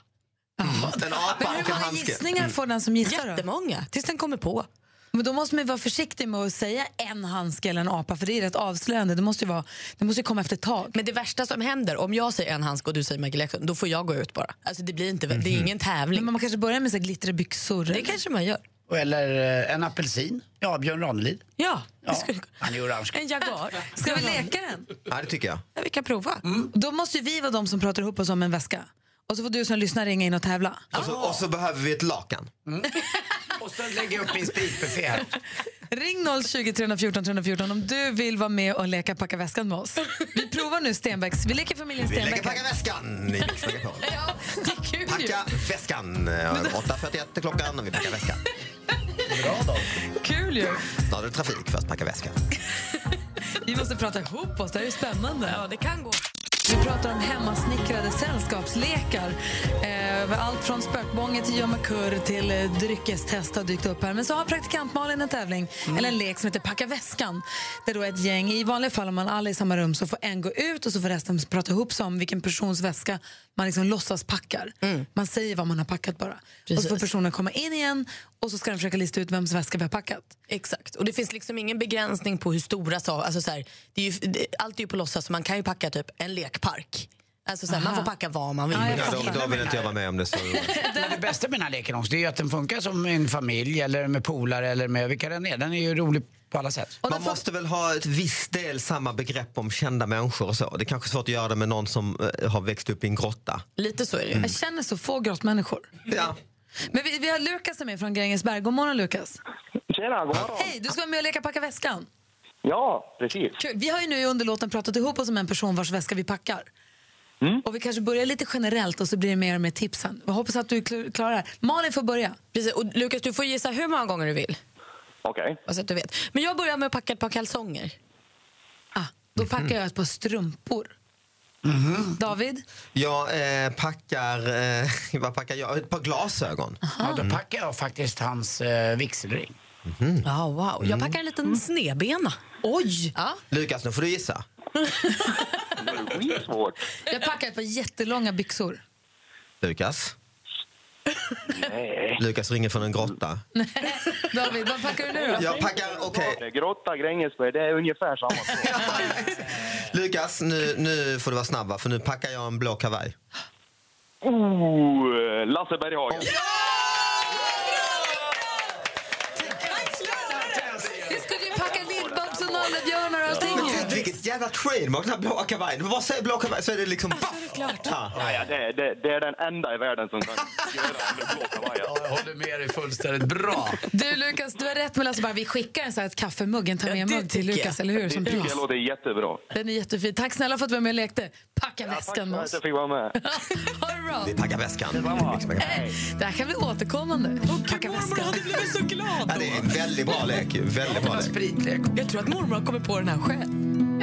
S19: En apa
S2: Hur många
S21: Mm.
S2: gissningar får den som gissar? då?
S3: Jättemånga, tills den kommer på.
S2: Men då måste man ju vara försiktig med att säga en handske eller en apa för det är rätt avslöjande. Det måste ju, vara, det måste ju komma efter ett tag.
S3: Men det värsta som händer, om jag säger en handske och du säger Michael Jackson, då får jag gå ut bara. Alltså det blir inte, det är ingen tävling.
S2: Mhm. Men man kanske börjar med så här glittriga byxor. Det
S3: kanske man gör.
S4: Eller eh, en apelsin. Ja, Björn Ranelid.
S3: Ja,
S4: Han är orange.
S3: En jaguar.
S2: Ska vi leka den?
S19: Ja, det tycker jag.
S3: Ja, vi kan prova.
S2: Mm. Då måste ju vi vara de som pratar ihop oss om en väska. Och så får du som lyssnar ringa in och tävla.
S19: Och så, och så behöver vi ett lakan.
S4: Och sen lägger jag upp min spritbuffé här.
S2: Ring 020 314 314 om du vill vara med och leka packa väskan med oss. Vi provar nu Stenbecks. Vi leker familjen
S19: Vi lägger
S2: Stenbeck.
S19: packa väskan i Mix Megapol. Packa väskan. eh, 8.41 är klockan och vi packar väskan.
S4: Bra då.
S2: Kul ju.
S19: Snart är det trafik för att packa väskan.
S2: Vi måste prata ihop oss, det här är ju spännande.
S3: Ja, det kan gå.
S2: Vi pratar om hemmasnickrade sällskapslekar. Eh, allt från spökbånge till gömma kurr till eh, dryckestest har dykt upp här. Men så har praktikant Malin en tävling,
S3: Mm.
S2: eller en lek som heter Packa väskan. Där då ett gäng, i vanliga fall om man alla är i samma rum så får en gå ut och så får resten prata ihop sig om vilken persons väska man liksom låtsas packar. Man säger vad man har packat bara. Och så får
S3: Mm. Precis.
S2: personen komma in igen och så ska den försöka lista ut vems väska vi har packat.
S3: Exakt. Och det finns liksom ingen begränsning på hur stora saker... Alltså så här, det är ju, det, allt är ju på låtsas, så man kan ju packa typ en lekpark. Alltså så här, man
S4: Aha.
S3: får packa vad man vill.
S19: Ja, då, då vill inte jag vara med om det. Så.
S4: Men det bästa med den här leken också, det är ju att den funkar som en familj eller med polare eller med vilka den är. Den är ju rolig på alla sätt.
S19: Man måste väl ha ett visst del samma begrepp om kända människor och så. Det är kanske svårt att göra det med någon som eh, har växt upp i en grotta.
S3: Lite så är det
S2: Jag känner så få grottmänniskor.
S19: Ja.
S2: Men vi, vi har Lukas med från Grängesberg. God morgon Lukas.
S18: Tjena, god morgon.
S2: Hej, du ska vara med och leka packa väskan.
S18: Ja, precis.
S2: Kul. Vi har ju nu i underlåten pratat ihop oss om en person vars väska vi packar. Och vi kanske börjar lite generellt och så blir det mer och mer tipsen. Jag hoppas att du kl- klarar det här. Malin får börja.
S3: Precis. Och Lukas, du får gissa hur många gånger du vill.
S18: Okej.
S3: Bara Så att du vet. Men jag börjar med att packa ett par kalsonger.
S2: Ah, Då packar jag ett par strumpor. David?
S19: Jag eh, packar, eh, vad packar jag? Ett par glasögon.
S4: Ja, då packar jag faktiskt hans eh, vigselring.
S3: Ja, wow. Jag packar en liten snedbena.
S2: Oj!
S3: Ja.
S19: Lukas, nu får du gissa.
S18: Det är svårt.
S2: Jag packar ett par jättelånga byxor.
S19: Lukas? Lukas ringer från en grotta.
S2: Eh, David, vad packar du nu då?
S19: Jag packar, okej.
S18: Grotta, Grängesberg, det är ungefär samma sak.
S19: Lukas, nu, nu får du vara snabb va? för nu packar jag en blå kavaj.
S18: Oh, Lasse Berghagen.
S2: Vi skulle ju packa lill-Babs och nallebjörnar och allting ju.
S19: Men Vilket jävla trademark, den här blåa kavajen. Vad säger blå kavaj så är det liksom...
S18: Ja, ja, det, det, det är den enda i världen som kan göra en blå kavaj.
S4: Jag håller med dig fullständigt bra.
S2: Du Lukas, du har rätt med Lasse Berg. Vi skickar en sån här kaffemugg, en ta med-mugg till Lukas, eller hur? Som
S18: det tycker
S2: pris.
S18: jag låter jättebra.
S2: Den är jättefin. Tack snälla för att du var med och lekte. Packa väskan med
S18: Tack för att jag
S2: oss.
S18: fick vara med.
S2: Ha det bra.
S19: Vi packar väskan. Mix Megapol.
S2: Det här kan bli återkommande. Packa väskan.
S3: blivit så glad
S19: Ja, det är en väldigt bra lek. ju. Väldigt bra lek.
S4: Spritlek.
S3: Jag tror att mormor har kommit på den här själv.